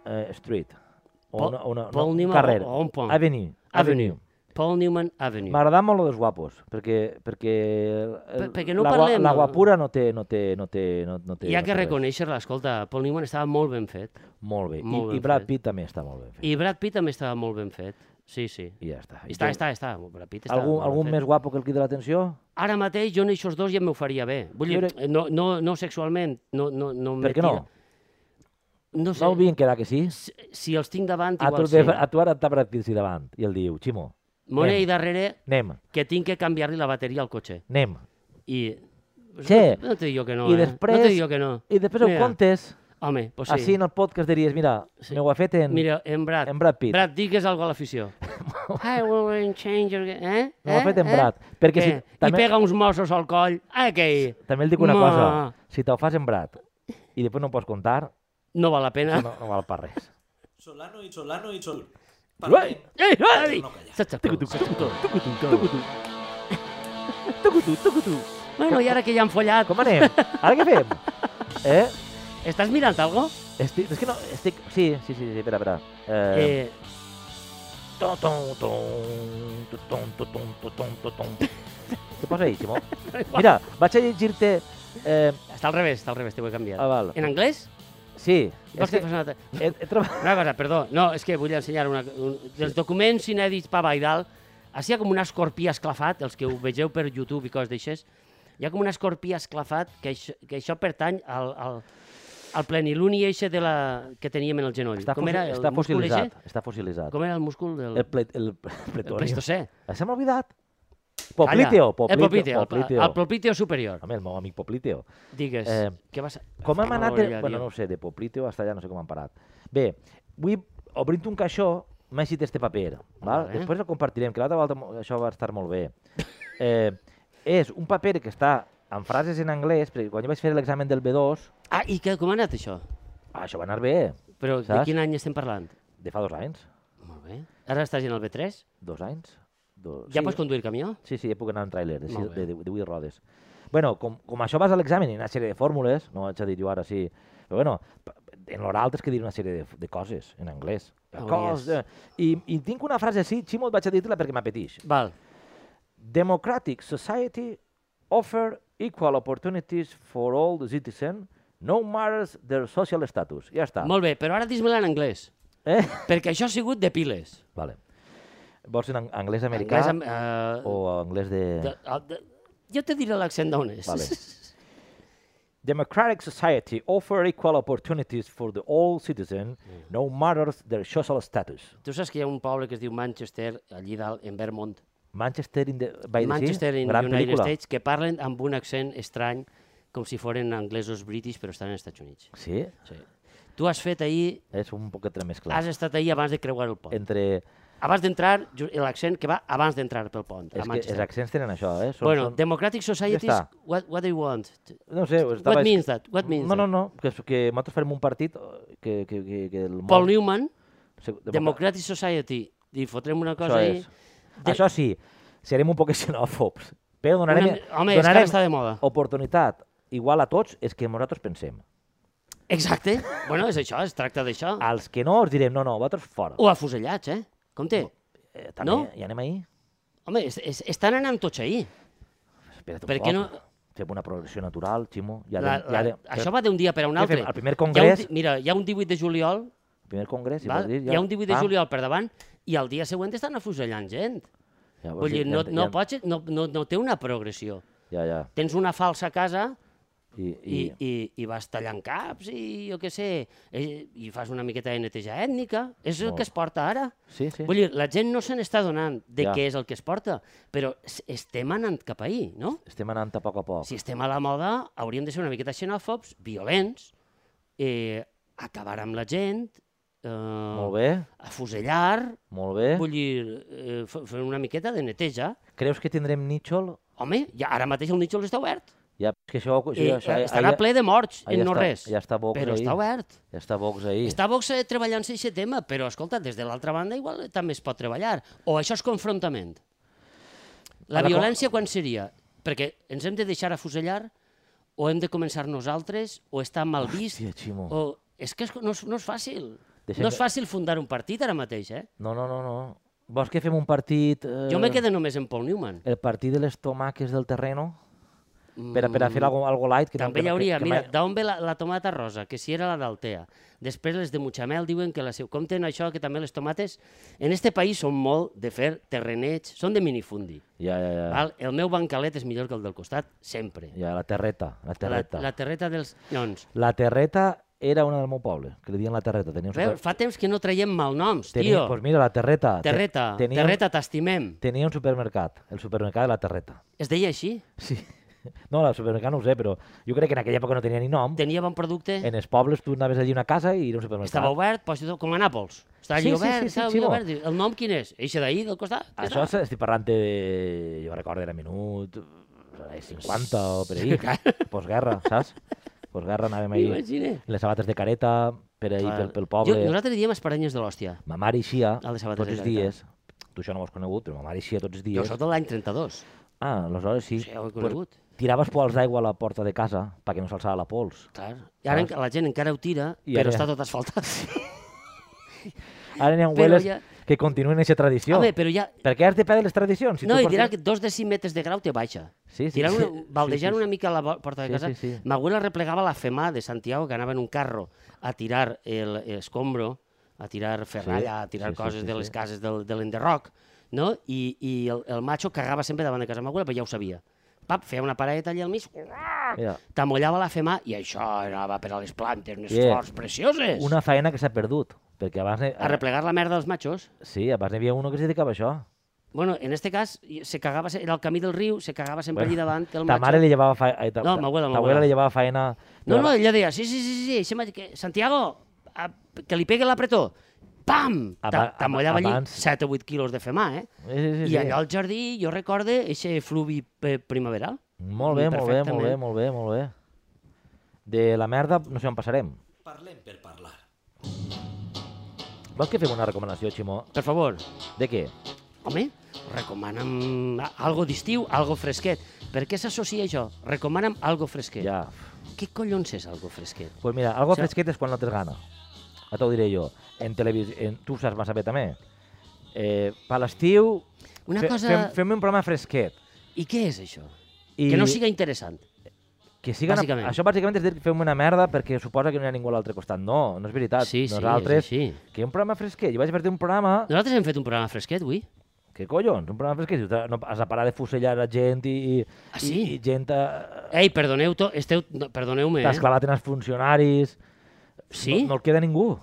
eh, Street. O Paul- una, una, Paul una, Newman carrer. o- o un pont. Avenue. Avenue. Paul Newman Avenue. M'agrada molt lo dels guapos, perquè, perquè, el- Per- perquè no la, gua- parlem, la no? guapura no té... No té, no té, no, no té Hi ha no que té res. reconèixer-la. Escolta, Paul Newman estava molt ben fet. Molt bé. Molt I, ben I Brad fet. Pitt també està molt ben fet. I, I Brad Pitt també estava molt ben fet. Sí, sí. ja està. I Està, tu- està, està. Brad Pitt està Algun, molt ben algun fet. més guapo que el crida l'atenció? Ara mateix jo en aquests dos ja m'ho faria bé. Vull dir, Però- no, no, no sexualment, no, no, no Per què no? No No sé, havien quedat que sí? si, si els tinc davant, A tu, igual el ve- sí. a tu ara t'ha Brad Pitt sí davant i el diu, Ximo, Mona Anem. i darrere, anem, que tinc que canviar-li la bateria al cotxe. anem. I... Che, No te digo que no, i eh? després- No te digo que no. I després ho Mira, contes, Home, pues sí. així en el podcast diries, mira, Sí. m'ho ha fet en... Mira, en Brad. Mm. en Brad Pitt. Brad, digues alguna cosa a l'afició. I will change your... Eh? No m'ha fet en Brad, perquè si- Eh? també- I pega uns mossos al coll. Ah, que... També et dic una Ma. cosa, si te'l fas en Brad i després no ho pots contar, No val la pena. no, no val per res. Solano y Solano y Sol. Ué! Ei, ei! No calla. S'aixecó, s'aixecó. Bueno, i ara que ja han follat, Com anem? Ara què fem? Eh? estàs mirant algo? Estic, és que no, estic... Sí, sí, sí, sí espera, espera. Eh... Eh, Ton, ton, ton, tu, ton, tu, ton, tu, ton, tu, ton. Què posa ahí, Ximó? Mira, vaig a llegir-te... Eh, està al revés, està al revés, t'ho he canviat. ah, val. En anglès? Sí, Vols és que que fas una altra? he, he trobat... Una cosa, perdó, no, és que vull ensenyar una, un, dels documents inèdits per Baidal, així hi ha com un escorpí esclafat, els que ho vegeu per YouTube i coses d'aixes, hi ha com un escorpí esclafat que això, que això pertany al, al, El pleniluni eixe de la... que teníem en el genoll. Està, com era fossi- el està múscul fossilitzat. eixe? Està fossilitzat. Com era el múscul del... El, ple, el, pletonio. Pleistocè. Ah, Se m'ha oblidat. Calla. Popliteo, El popliteo, popliteo, el pla- popliteo. El popliteo superior. Home, el meu amic popliteo. Digues, Eh, què vas... Ah, Com hem Estava anat... orella, De, bueno, tio. no ho sé, de popliteo hasta allà, no sé com han parat. Bé, avui, obrint un caixó, m'ha eixit este paper. Val? Vale. Després el compartirem, que l'altra volta mo- això va estar molt bé. Eh, és un paper que està amb frases en anglès, perquè quan jo vaig fer l'examen del B2, Ah, i què, com ha anat això? ah, això va anar bé, Però de Saps? quin any estem parlant? de fa dos anys. Molt bé. Ara estàs en el B3? Dos anys? Dos... Ja pots conduir camió? Sí, sí, ja puc anar en tràiler de, Molt sis- de, bé. de, de 8 rodes. bueno, com, com això vas a l'examen i una sèrie de fórmules, no ho haig de dir jo ara sí, però bueno, p- en l'oral t'has que dir una sèrie de, de coses en anglès. Hauries. Cos, de, i, I tinc una frase així, Ximo, et vaig a dir-te-la perquè m'apeteix. Val. Democratic society offer equal opportunities for all the citizens, no matters their social status. Ja està. Molt bé, però ara dis-me-la en anglès. Eh? Perquè això ha sigut de piles. Vale. Vols en ang- anglès americà Anglès, am- eh, o anglès de, el- de, jo te diré l'accent d'on és. Vale. Democratic society offer equal opportunities for the all citizen, Mm. no matter their social status. Tu saps que hi ha un poble que es diu Manchester, allí dalt, en Vermont, Manchester in the, by the Manchester sea, in gran United pel·lícula. States, que parlen amb un accent estrany, com si foren anglesos british, però estan als Estats Units. Sí, Sí. Tu has fet ahir, és un poquet més clar. has estat ahir abans de creuar el pont. Entre... Abans d'entrar, ju- l'accent que va abans d'entrar pel pont, a És que els Manchester. accents tenen això, eh? Són, Bueno, són... Democratic Societies, està. what, what they want. No sé, What estava... means that? What means no, no, that? no, que, que nosaltres farem un partit eh, que... que, que, que el món... Paul Newman, Se- democrà- Democratic Society, i fotrem una Això cosa ahir... és. Això sí, serem un poc xenòfobs, però donarem, Una mi- home, és que ara donarem està de moda. oportunitat igual a tots és que nosaltres pensem. Exacte. bueno, és això, es tracta d'això. Als que no, els direm, no, no, vosaltres fora. O afusellats, eh? Compte. Eh, també, no? no? I anem ahir? Home, es, es, estan anant tots ahir. Espera't un Per per què poc. no- No... Fem una progressió natural, Ximo. Ja La, de, la, ja de, això va d'un dia per a un Què altre. fem? El primer Hi ha un congrés? di- mira, hi ha un 18 de juliol, Primer congrés, si val? vols dir. Ah. hi ha un 18 de juliol per davant, i al dia següent estan afusellant gent. Ja, vols Vull dir, no, ja, no, ja, pots, no, no, no té una progressió. Ja, ja. Tens una falsa casa I, i, i, i, i vas tallant caps i jo què sé, eh, i fas una miqueta de neteja ètnica. És el Molt. que es porta ara. Sí, sí. Vull dir, la gent no se n'està donant de Ja. què és el que es porta, però s- estem anant cap ahir, no? Estem anant a poc a poc. Si estem a la moda, hauríem de ser una miqueta xenòfobs, violents, eh, acabar amb la gent, eh, Molt bé, afusellar, molt bé. vull dir, eh, f- fer una miqueta de neteja. Creus que tindrem nítxol? Home, ja, ara mateix el Nítxol està obert. Ja, és que això... això, I, això eh, ahir- estarà ahir- ple de morts ahir en no està- res, ja està Vox però ahir. està obert. Ja està Vox ahir. Està Vox eh, treballant-se aquest tema, però escolta, des de l'altra banda igual també es pot treballar. O això és confrontament. La Ara, com- violència quan seria? Perquè ens hem de deixar afusellar o hem de començar nosaltres o està mal vist Hòstia, Ximo. o... És que és, no, és, no és fàcil. Deixem no és que- fàcil fundar un partit ara mateix, eh? No, no, no, no. Vols que fem un partit... Eh, Jo me quedo només en Paul Newman. El partit de les tomaques del terreno? Per, a- per a fer algo, algo light? Que Mm. no- També que hi no- hauria, que, que mira, mai- d'on ve la, la tomata rosa, que si era la d'Altea. Després les de Mutxamel diuen que la seu... Compten això, que també les tomates... En este país són molt de fer terrenets, són de minifundi. Ja, ja, ja. Val? El meu bancalet és millor que el del costat, sempre. Ja, la terreta, la La, terreta. la terreta dels llons. La terreta era una del meu poble, que li diuen la terreta. Tenia un Veus, super... fa temps que no traiem malnoms, tenia, tio. pues mira, la terreta. te- Terreta, tenia, terreta, t'estimem. Tenia un supermercat, el supermercat de la terreta. Es deia així? Sí. No, el supermercat no ho sé, però jo crec que en aquella època no tenia ni nom. Tenia bon producte? En els pobles tu anaves allí a una casa i era un supermercat. Estava obert, pues, com a Nàpols. Està Sí, allí sí, obert, sí, sí, estava allí Ximo. obert. Dius, El nom quin és? Eixe d'ahir, del costat? Ja Això està. se- estic parlant de... Jo recordo, era minut... eh, 50 o per ahir. Postguerra, saps? Postguerra anàvem ahir. M'imagine. amb Les sabates de careta, per ahir, pel, pel Jo, poble. nosaltres diem esparanyes de l'hòstia. Ma mare eixia El de sabates tots de els careta. dies. Tu això no m'ho has conegut, però ma mare eixia tots els dies. Jo sóc de l'any 32. Ah, aleshores sí. Sí, ho he conegut. tiraves pols d'aigua a la porta de casa perquè no s'alçava la pols. Clar. I ara enca- la gent encara ho tira, I però ara- està tot asfaltat. Ara n'hi ha Però abueles ja- que continuen aquesta tradició. Home, però ja, Per què has de perdre les tradicions? Si no, tu i portes- dirà que dos decímetres de grau te baixa. Sí, sí, Tirar sí, una, sí, baldejar sí, una sí. mica la vo- porta de Sí, casa. sí, sí. Ma abuela replegaba la FEMA de Santiago, que anava en un carro a tirar el escombro, a tirar ferralla, a tirar sí, sí, coses sí, de sí. les cases del, de l'enderroc, no? I, i el, el macho cagava sempre davant de casa de ma abuela, però ja ho sabia. pap, feia una paradeta allà al mig, Mira, t'amollava la femà i això anava per a les plantes, unes Yeah. flors precioses. una faena que s'ha perdut, perquè abans... n'hi- A replegar la merda dels machos. Sí, abans n'hi havia uno que es dedicava a això. Bueno, en este cas, i- se cagava, se- era el camí del riu, se cagava sempre Bueno, allí davant el Ta macho. mare li llevava faena... Ta, No, m'abuela, ta m'abuela. abuela li llevava faena... No, no, ella deia, sí, sí, sí, sí, sí deixa'm que... Santiago, a, que li pegue l'apretó. Pam! Aba- T'a- T'amollava allí abans- 7 o 8 quilos de femà, eh? Sí, sí, sí, I allà al jardí jo recorde eixe fluvi eh, primaveral. Molt bé, molt bé, molt bé, perfectament. molt bé, molt bé. De la merda no sé on passarem. Parlem per parlar. Vols que fem una recomanació, Ximó? Per favor, De què? home, recomana'm a- algo d'estiu, algo fresquet. Per què s'associa això? Recomana'm algo fresquet. Ja. Què collons és algo fresquet? Pues mira, algo O sea- fresquet és quan no tens gana. A t'ho diré jo. En televisió... En... Tu ho saps massa bé, també. Eh, per l'estiu... Una fe- cosa- Fem, fem un programa fresquet. I què és això? I Que no siga interessant. Que siga una- bàsicament. Això bàsicament és dir que fem una merda perquè suposa que no hi ha ningú a l'altre costat. No, no és veritat. Sí, sí, és Nosaltres, així. Que un programa fresquet. Jo vaig fer un programa... Nosaltres hem fet un programa fresquet avui. Què collons? Un programa fresquet. dius, No, has de parar de fusellar la gent i, i, Ah, sí? i, i gent... A... Ei, perdoneu, to, esteu... No, perdoneu-me, T'has eh? clavat en els funcionaris... Sí? No, no el queda ningú.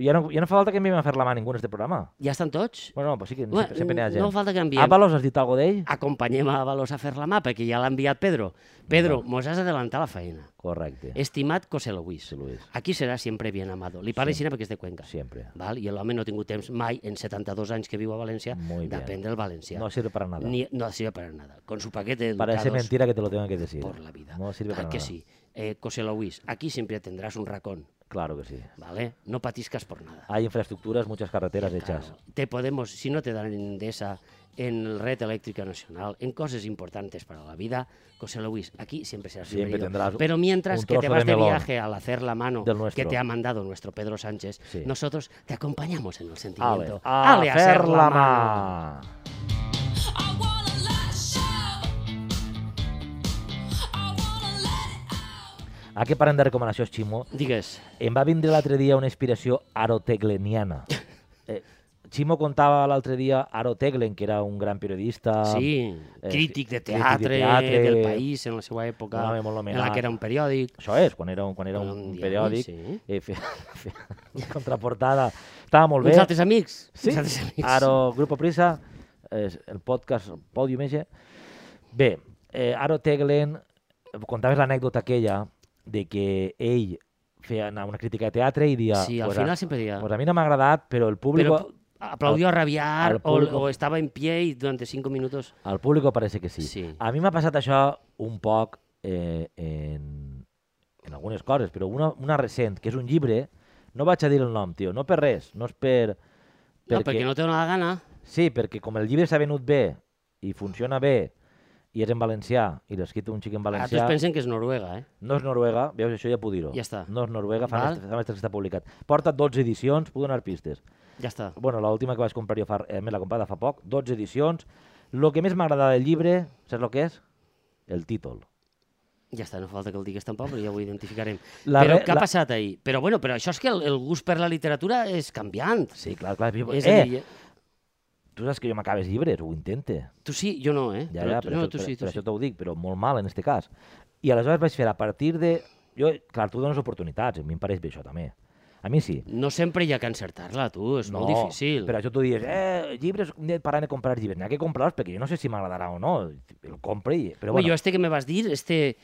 Ja no, ja no fa falta que enviem a fer la mà a ningú en este programa. Ja estan tots? Bueno, pues sí que Bueno, sempre, sempre n'hi ha gent. no falta que enviem. Avalos, has dit alguna d'ell? Acompanyem a Avalos a fer la mà, perquè ja l'ha enviat Pedro. Pedro, mos has adelantat la feina. Correcte. Estimat José Luis, José Luis. aquí serà sempre bien amado. Li parla així perquè és de Cuenca. Sempre. Val? I l'home no ha tingut temps mai, en 72 anys que viu a València, Muy bien. d'aprendre el valencià. No sirve para nada. Ni, no sirve para nada. Con su paquete de Parece educados mentira que te lo tenga que decir. por la vida. No sirve Clar para que nada. sí. Eh, José Luis, aquí siempre tendrás un racón, Claro que sí. ¿vale? No patiscas por nada. Hay infraestructuras, muchas carreteras hechas. Claro, Te podemos, si no te dan en Endesa, en el Red Eléctrica Nacional, en cosas importantes para la vida, José Luis, aquí siempre serás Siempre bienvenido. tendrás Pero mientras un que te trozo vas de de, melón viaje al hacer la mano del nuestro. que te ha mandado nuestro Pedro Sánchez, Sí. nosotros te acompañamos en el sentimiento. Ale, a, Ale, fer la mà. I wanna let show. I wanna let it out. A què parlem de recomanacions, Ximo? Digues, Em va vindre l'altre dia una inspiració arotegleniana. Eh, Ximo contava l'altre dia Aroteclen, que era un gran periodista. sí, eh, crític de crític de teatre, teatre. del país en la seva època, Un home en molt la nomenat. que era un periòdic. Això és, quan era un, quan era un, Un un diari, periòdic. sí. Eh, feia, feia una contraportada. Estava molt bé. Uns altres amics. Sí, Uns altres amics. Aro, Grupo Prisa, és el podcast el Podium Ege. Bé, eh, Aro Teglen, contaves l'anècdota aquella de que ell feia anar una crítica de teatre i dia... Sí, al final sempre deia- Pues a mi no m'ha agradat, però el públic... Pero pu- aplaudió a rabiar al o, público- o estaba en pie y durante cinco minutos. Al públic parece que sí. Sí. A mi m'ha passat això un poc eh, en, en algunes coses, però una, una recent, que és un llibre, no vaig a dir el nom, tio, no per res, no és per... Perquè... No, perquè no té la gana. Sí, perquè com el llibre s'ha venut bé i funciona bé i és en valencià i l'ha escrit un xic en Ara valencià, tots pensen que és Noruega, eh? no és Noruega, veus, això ja puc dir-ho. Ja està. No és Noruega, fa Val. més, fa més temps que està publicat. Porta 12 edicions, puc donar pistes. Ja està. Bueno, l'última que vaig comprar jo fa, eh, me l'he comprada fa poc, 12 edicions. Lo que més m'ha agradat del llibre, saps el que és? El títol. Ja està, no fa falta que el digues tampoc, però ja ho identificarem. La La però re- què ha la- passat ahir? Però bueno, però això és que el, el gust per la literatura és canviant. Sí, clar, clar. viu- És a eh, dir, tu saps que jo m'acabes llibres, ho intente. tu sí, jo no, eh? Ja, però, ja, tu, per, no, això, tu per, sí, tu per sí. això t'ho dic, però molt mal en este cas. I aleshores vaig fer a partir de... Jo, clar, tu dones oportunitats, a mi em pareix bé això també. A mi sí. No sempre hi ha que encertar-la, tu, és molt difícil. Però això tu dius, eh, llibres, he de parar de comprar llibres, n'hi ha que comprar-los perquè jo no sé si m'agradarà o no, el compre i... Però Bueno. bueno, Jo este que me vas dir, este...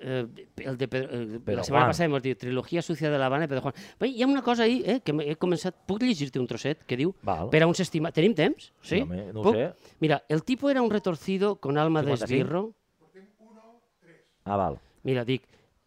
Eh, el de Pedro, eh, Pedro la setmana Juan. passada hem dit Trilogia sucia de la Habana de Pedro Juan. Bé, hi ha una cosa ahí, eh, que he començat... Puc llegir-te un trosset que diu... Val. Per a un s'estima... Tenim temps? Sí? home, no ho Puc? sé. Mira, el tipo era un retorcido con alma de 55. esbirro. ah, val. Mira, dic...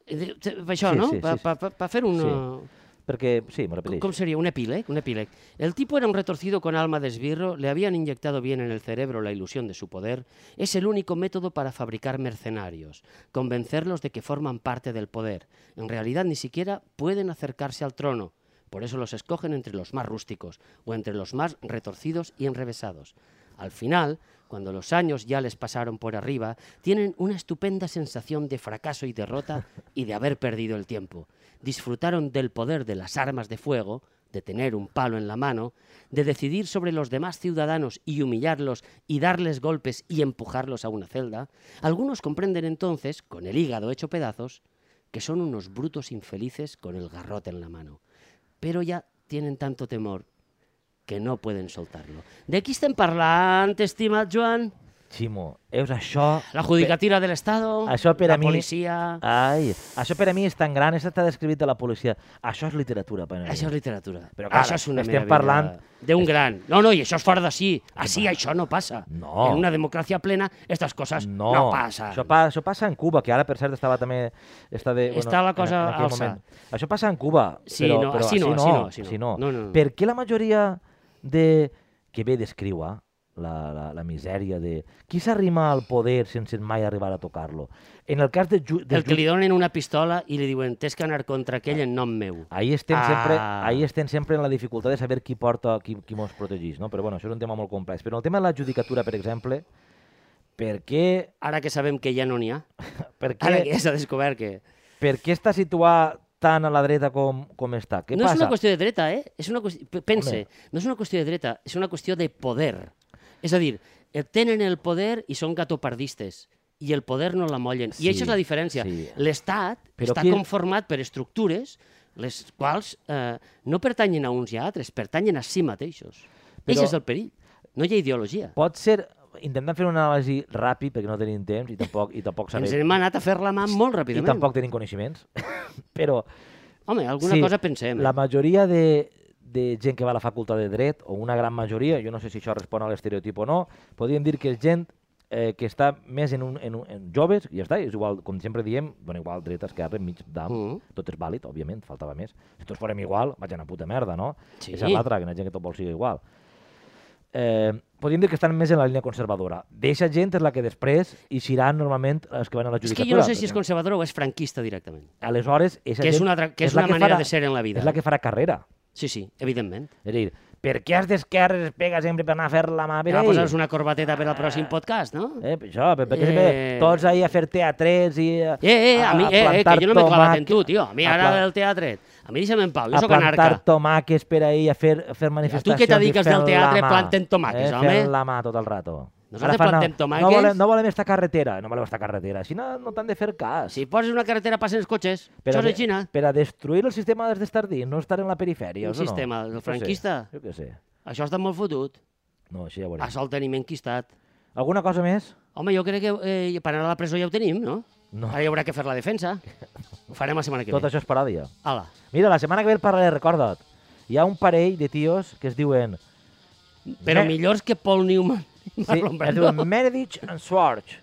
eh, de- te- Això, Sí, no? sí, sí, pa, sí. pa, pa, pa fer eh, una... Sí. Perquè, sí, m'ho repeteix. ¿Cómo sería? Un epíleg, un epíleg. El tipo era un retorcido con alma de esbirro, le habían inyectado bien en el cerebro la ilusión de su poder. Es el único método para fabricar mercenarios, convencerlos de que forman parte del poder. En realidad ni siquiera pueden acercarse al trono. Por eso los escogen entre los más rústicos o entre los más retorcidos y enrevesados. Al final, cuando los años ya les pasaron por arriba, tienen una estupenda sensación de fracaso y derrota y de haber perdido el tiempo. Disfrutaron del poder de las armas de fuego, de tener un palo en la mano, de decidir sobre los demás ciudadanos y humillarlos y darles golpes y empujarlos a una celda, algunos comprenden entonces, con el hígado hecho pedazos, que son unos brutos infelices con el garrote en la mano. Pero ya tienen tanto temor que no pueden soltarlo. De qui estem parlant, estimat Joan? Ximo, veus, això... La judicatura de l'Estado? Això per la a mi- policia? Ai, això per a mi és tan gran, és està descrit de la policia. Això és literatura, per a mi. Això és literatura. Però, clar, això és una estem meravella parlant- D'un gran. No, no, i això és fora d'ací. Així això no passa. No. En una democràcia plena, aquestes coses no, no passen. Això, pa, això passa en Cuba, que ara, per cert, estava també... Està, de, Està la cosa aquell alça. Això passa en Cuba, Sí, però, no, però així no, així així no, no, així no. No, no, no. Per què la majoria de... que bé descriu, eh? La, la, la misèria de... Qui s'arrima al poder sense mai arribar a tocar-lo? En el cas de... Ju, de El que li donen una pistola i li diuen tens que anar contra aquell en nom meu. Ahir estem, ah. sempre, Ah. ahir estem sempre en la dificultat de saber qui porta, qui, qui mos protegís, no? Però bueno, això és un tema molt complex. Però en el tema de la judicatura, per exemple, per què, Ara que sabem que ja no n'hi ha, per què, ara que ja s'ha descobert que... per què està situat tant a la dreta com, com està? Què no passa? és una qüestió de dreta, eh? És una qüestió... pe- Pense, Home. no és una qüestió de dreta, és una qüestió de poder. És a dir, eh, tenen el poder i són gatopardistes i el poder no la mollen. Sí, I això és la diferència. sí. L'Estat Però està qui- conformat per estructures les quals eh, no pertanyen a uns i a altres, pertanyen a si mateixos. Però... Però- Això és el perill. No hi ha ideologia. Pot ser... Intentant fer una anàlisi ràpid, perquè no tenim temps i tampoc, i tampoc Ens sabem... hem anat a fer la mà molt I ràpidament. tampoc tenim coneixements. Però Home, alguna Sí, cosa pensem. eh? La majoria de, de gent que va a la facultat de dret, o una gran majoria, jo no sé si això respon a l'estereotip o no, podríem dir que és gent eh, que està més en, un, en, un, en joves, i ja està, és igual, com sempre diem, bueno, igual dreta, esquerra, mig d'am, Mm. tot és vàlid, òbviament, faltava més. Si tots fórem igual, vaig anar a puta merda, no? Sí. És a l'altra, que la gent que tot vol sigui igual. Eh, podríem dir que estan més en la línia conservadora. D'eixa gent és la que després eixiran normalment els que van a la És judicatura. que jo no sé per si és exemple. conservador o és franquista directament. Aleshores, eixa Que és gent una altra- que és la una manera farà- de ser en la vida, És la eh? que farà carrera. Sí, sí, evidentment. És a dir, per què has d'esquerres es pega sempre per anar a fer la mà? Anem Per a ahí? posar-nos una corbateta per al pròxim podcast, no? Eh, per això, per, perquè Eh. sempre tots ahir a fer teatrets i... Eh, Eh, eh, a mi, eh, eh, que jo no m'he clavat en tu, tio. A mi a ara pla- del teatre. A mi deixa'm en pau, jo a sóc plantar anarca. tomàques per ahir, a fer, a fer manifestacions... què t'adiques i fent del teatre, la mà, planten tomàques, eh, home? Fent la mà tot el rato. Nosaltres fan, plantem tomàques. No volem, no volem estar a carretera, no volem estar a carretera. Si no, no t'han de fer cas. Si poses una carretera passen els cotxes. Per Això a, és a Xina. per a destruir el sistema dels d'estar dins, no estar en la perifèria. Un o no? sistema, el Jo què sé, franquista. Ah, Jo què sé. Això està molt fotut. No, així ja ho veurem. Això el tenim enquistat. Alguna cosa més? Home, jo crec que eh, per anar a la presó ja ho tenim, no? No. Ara hi haurà que fer la defensa. Ho farem la setmana que Tot ve. això és paròdia. Ala. Mira, la setmana que ve el parlaré, recorda't. Hi ha un parell de tios que es diuen... Però Me- millors que Paul Newman i Eh. Sí, Marlon es Brando. diuen Meredith and Swartz,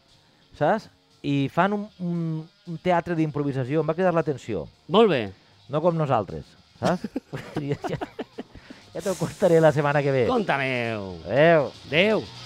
saps? I fan un, un, un teatre d'improvisació, em va cridar l'atenció. Molt bé. No com nosaltres, saps? ja ja, ja t'ho contaré la setmana que ve. Conta meu. Adéu. Adéu.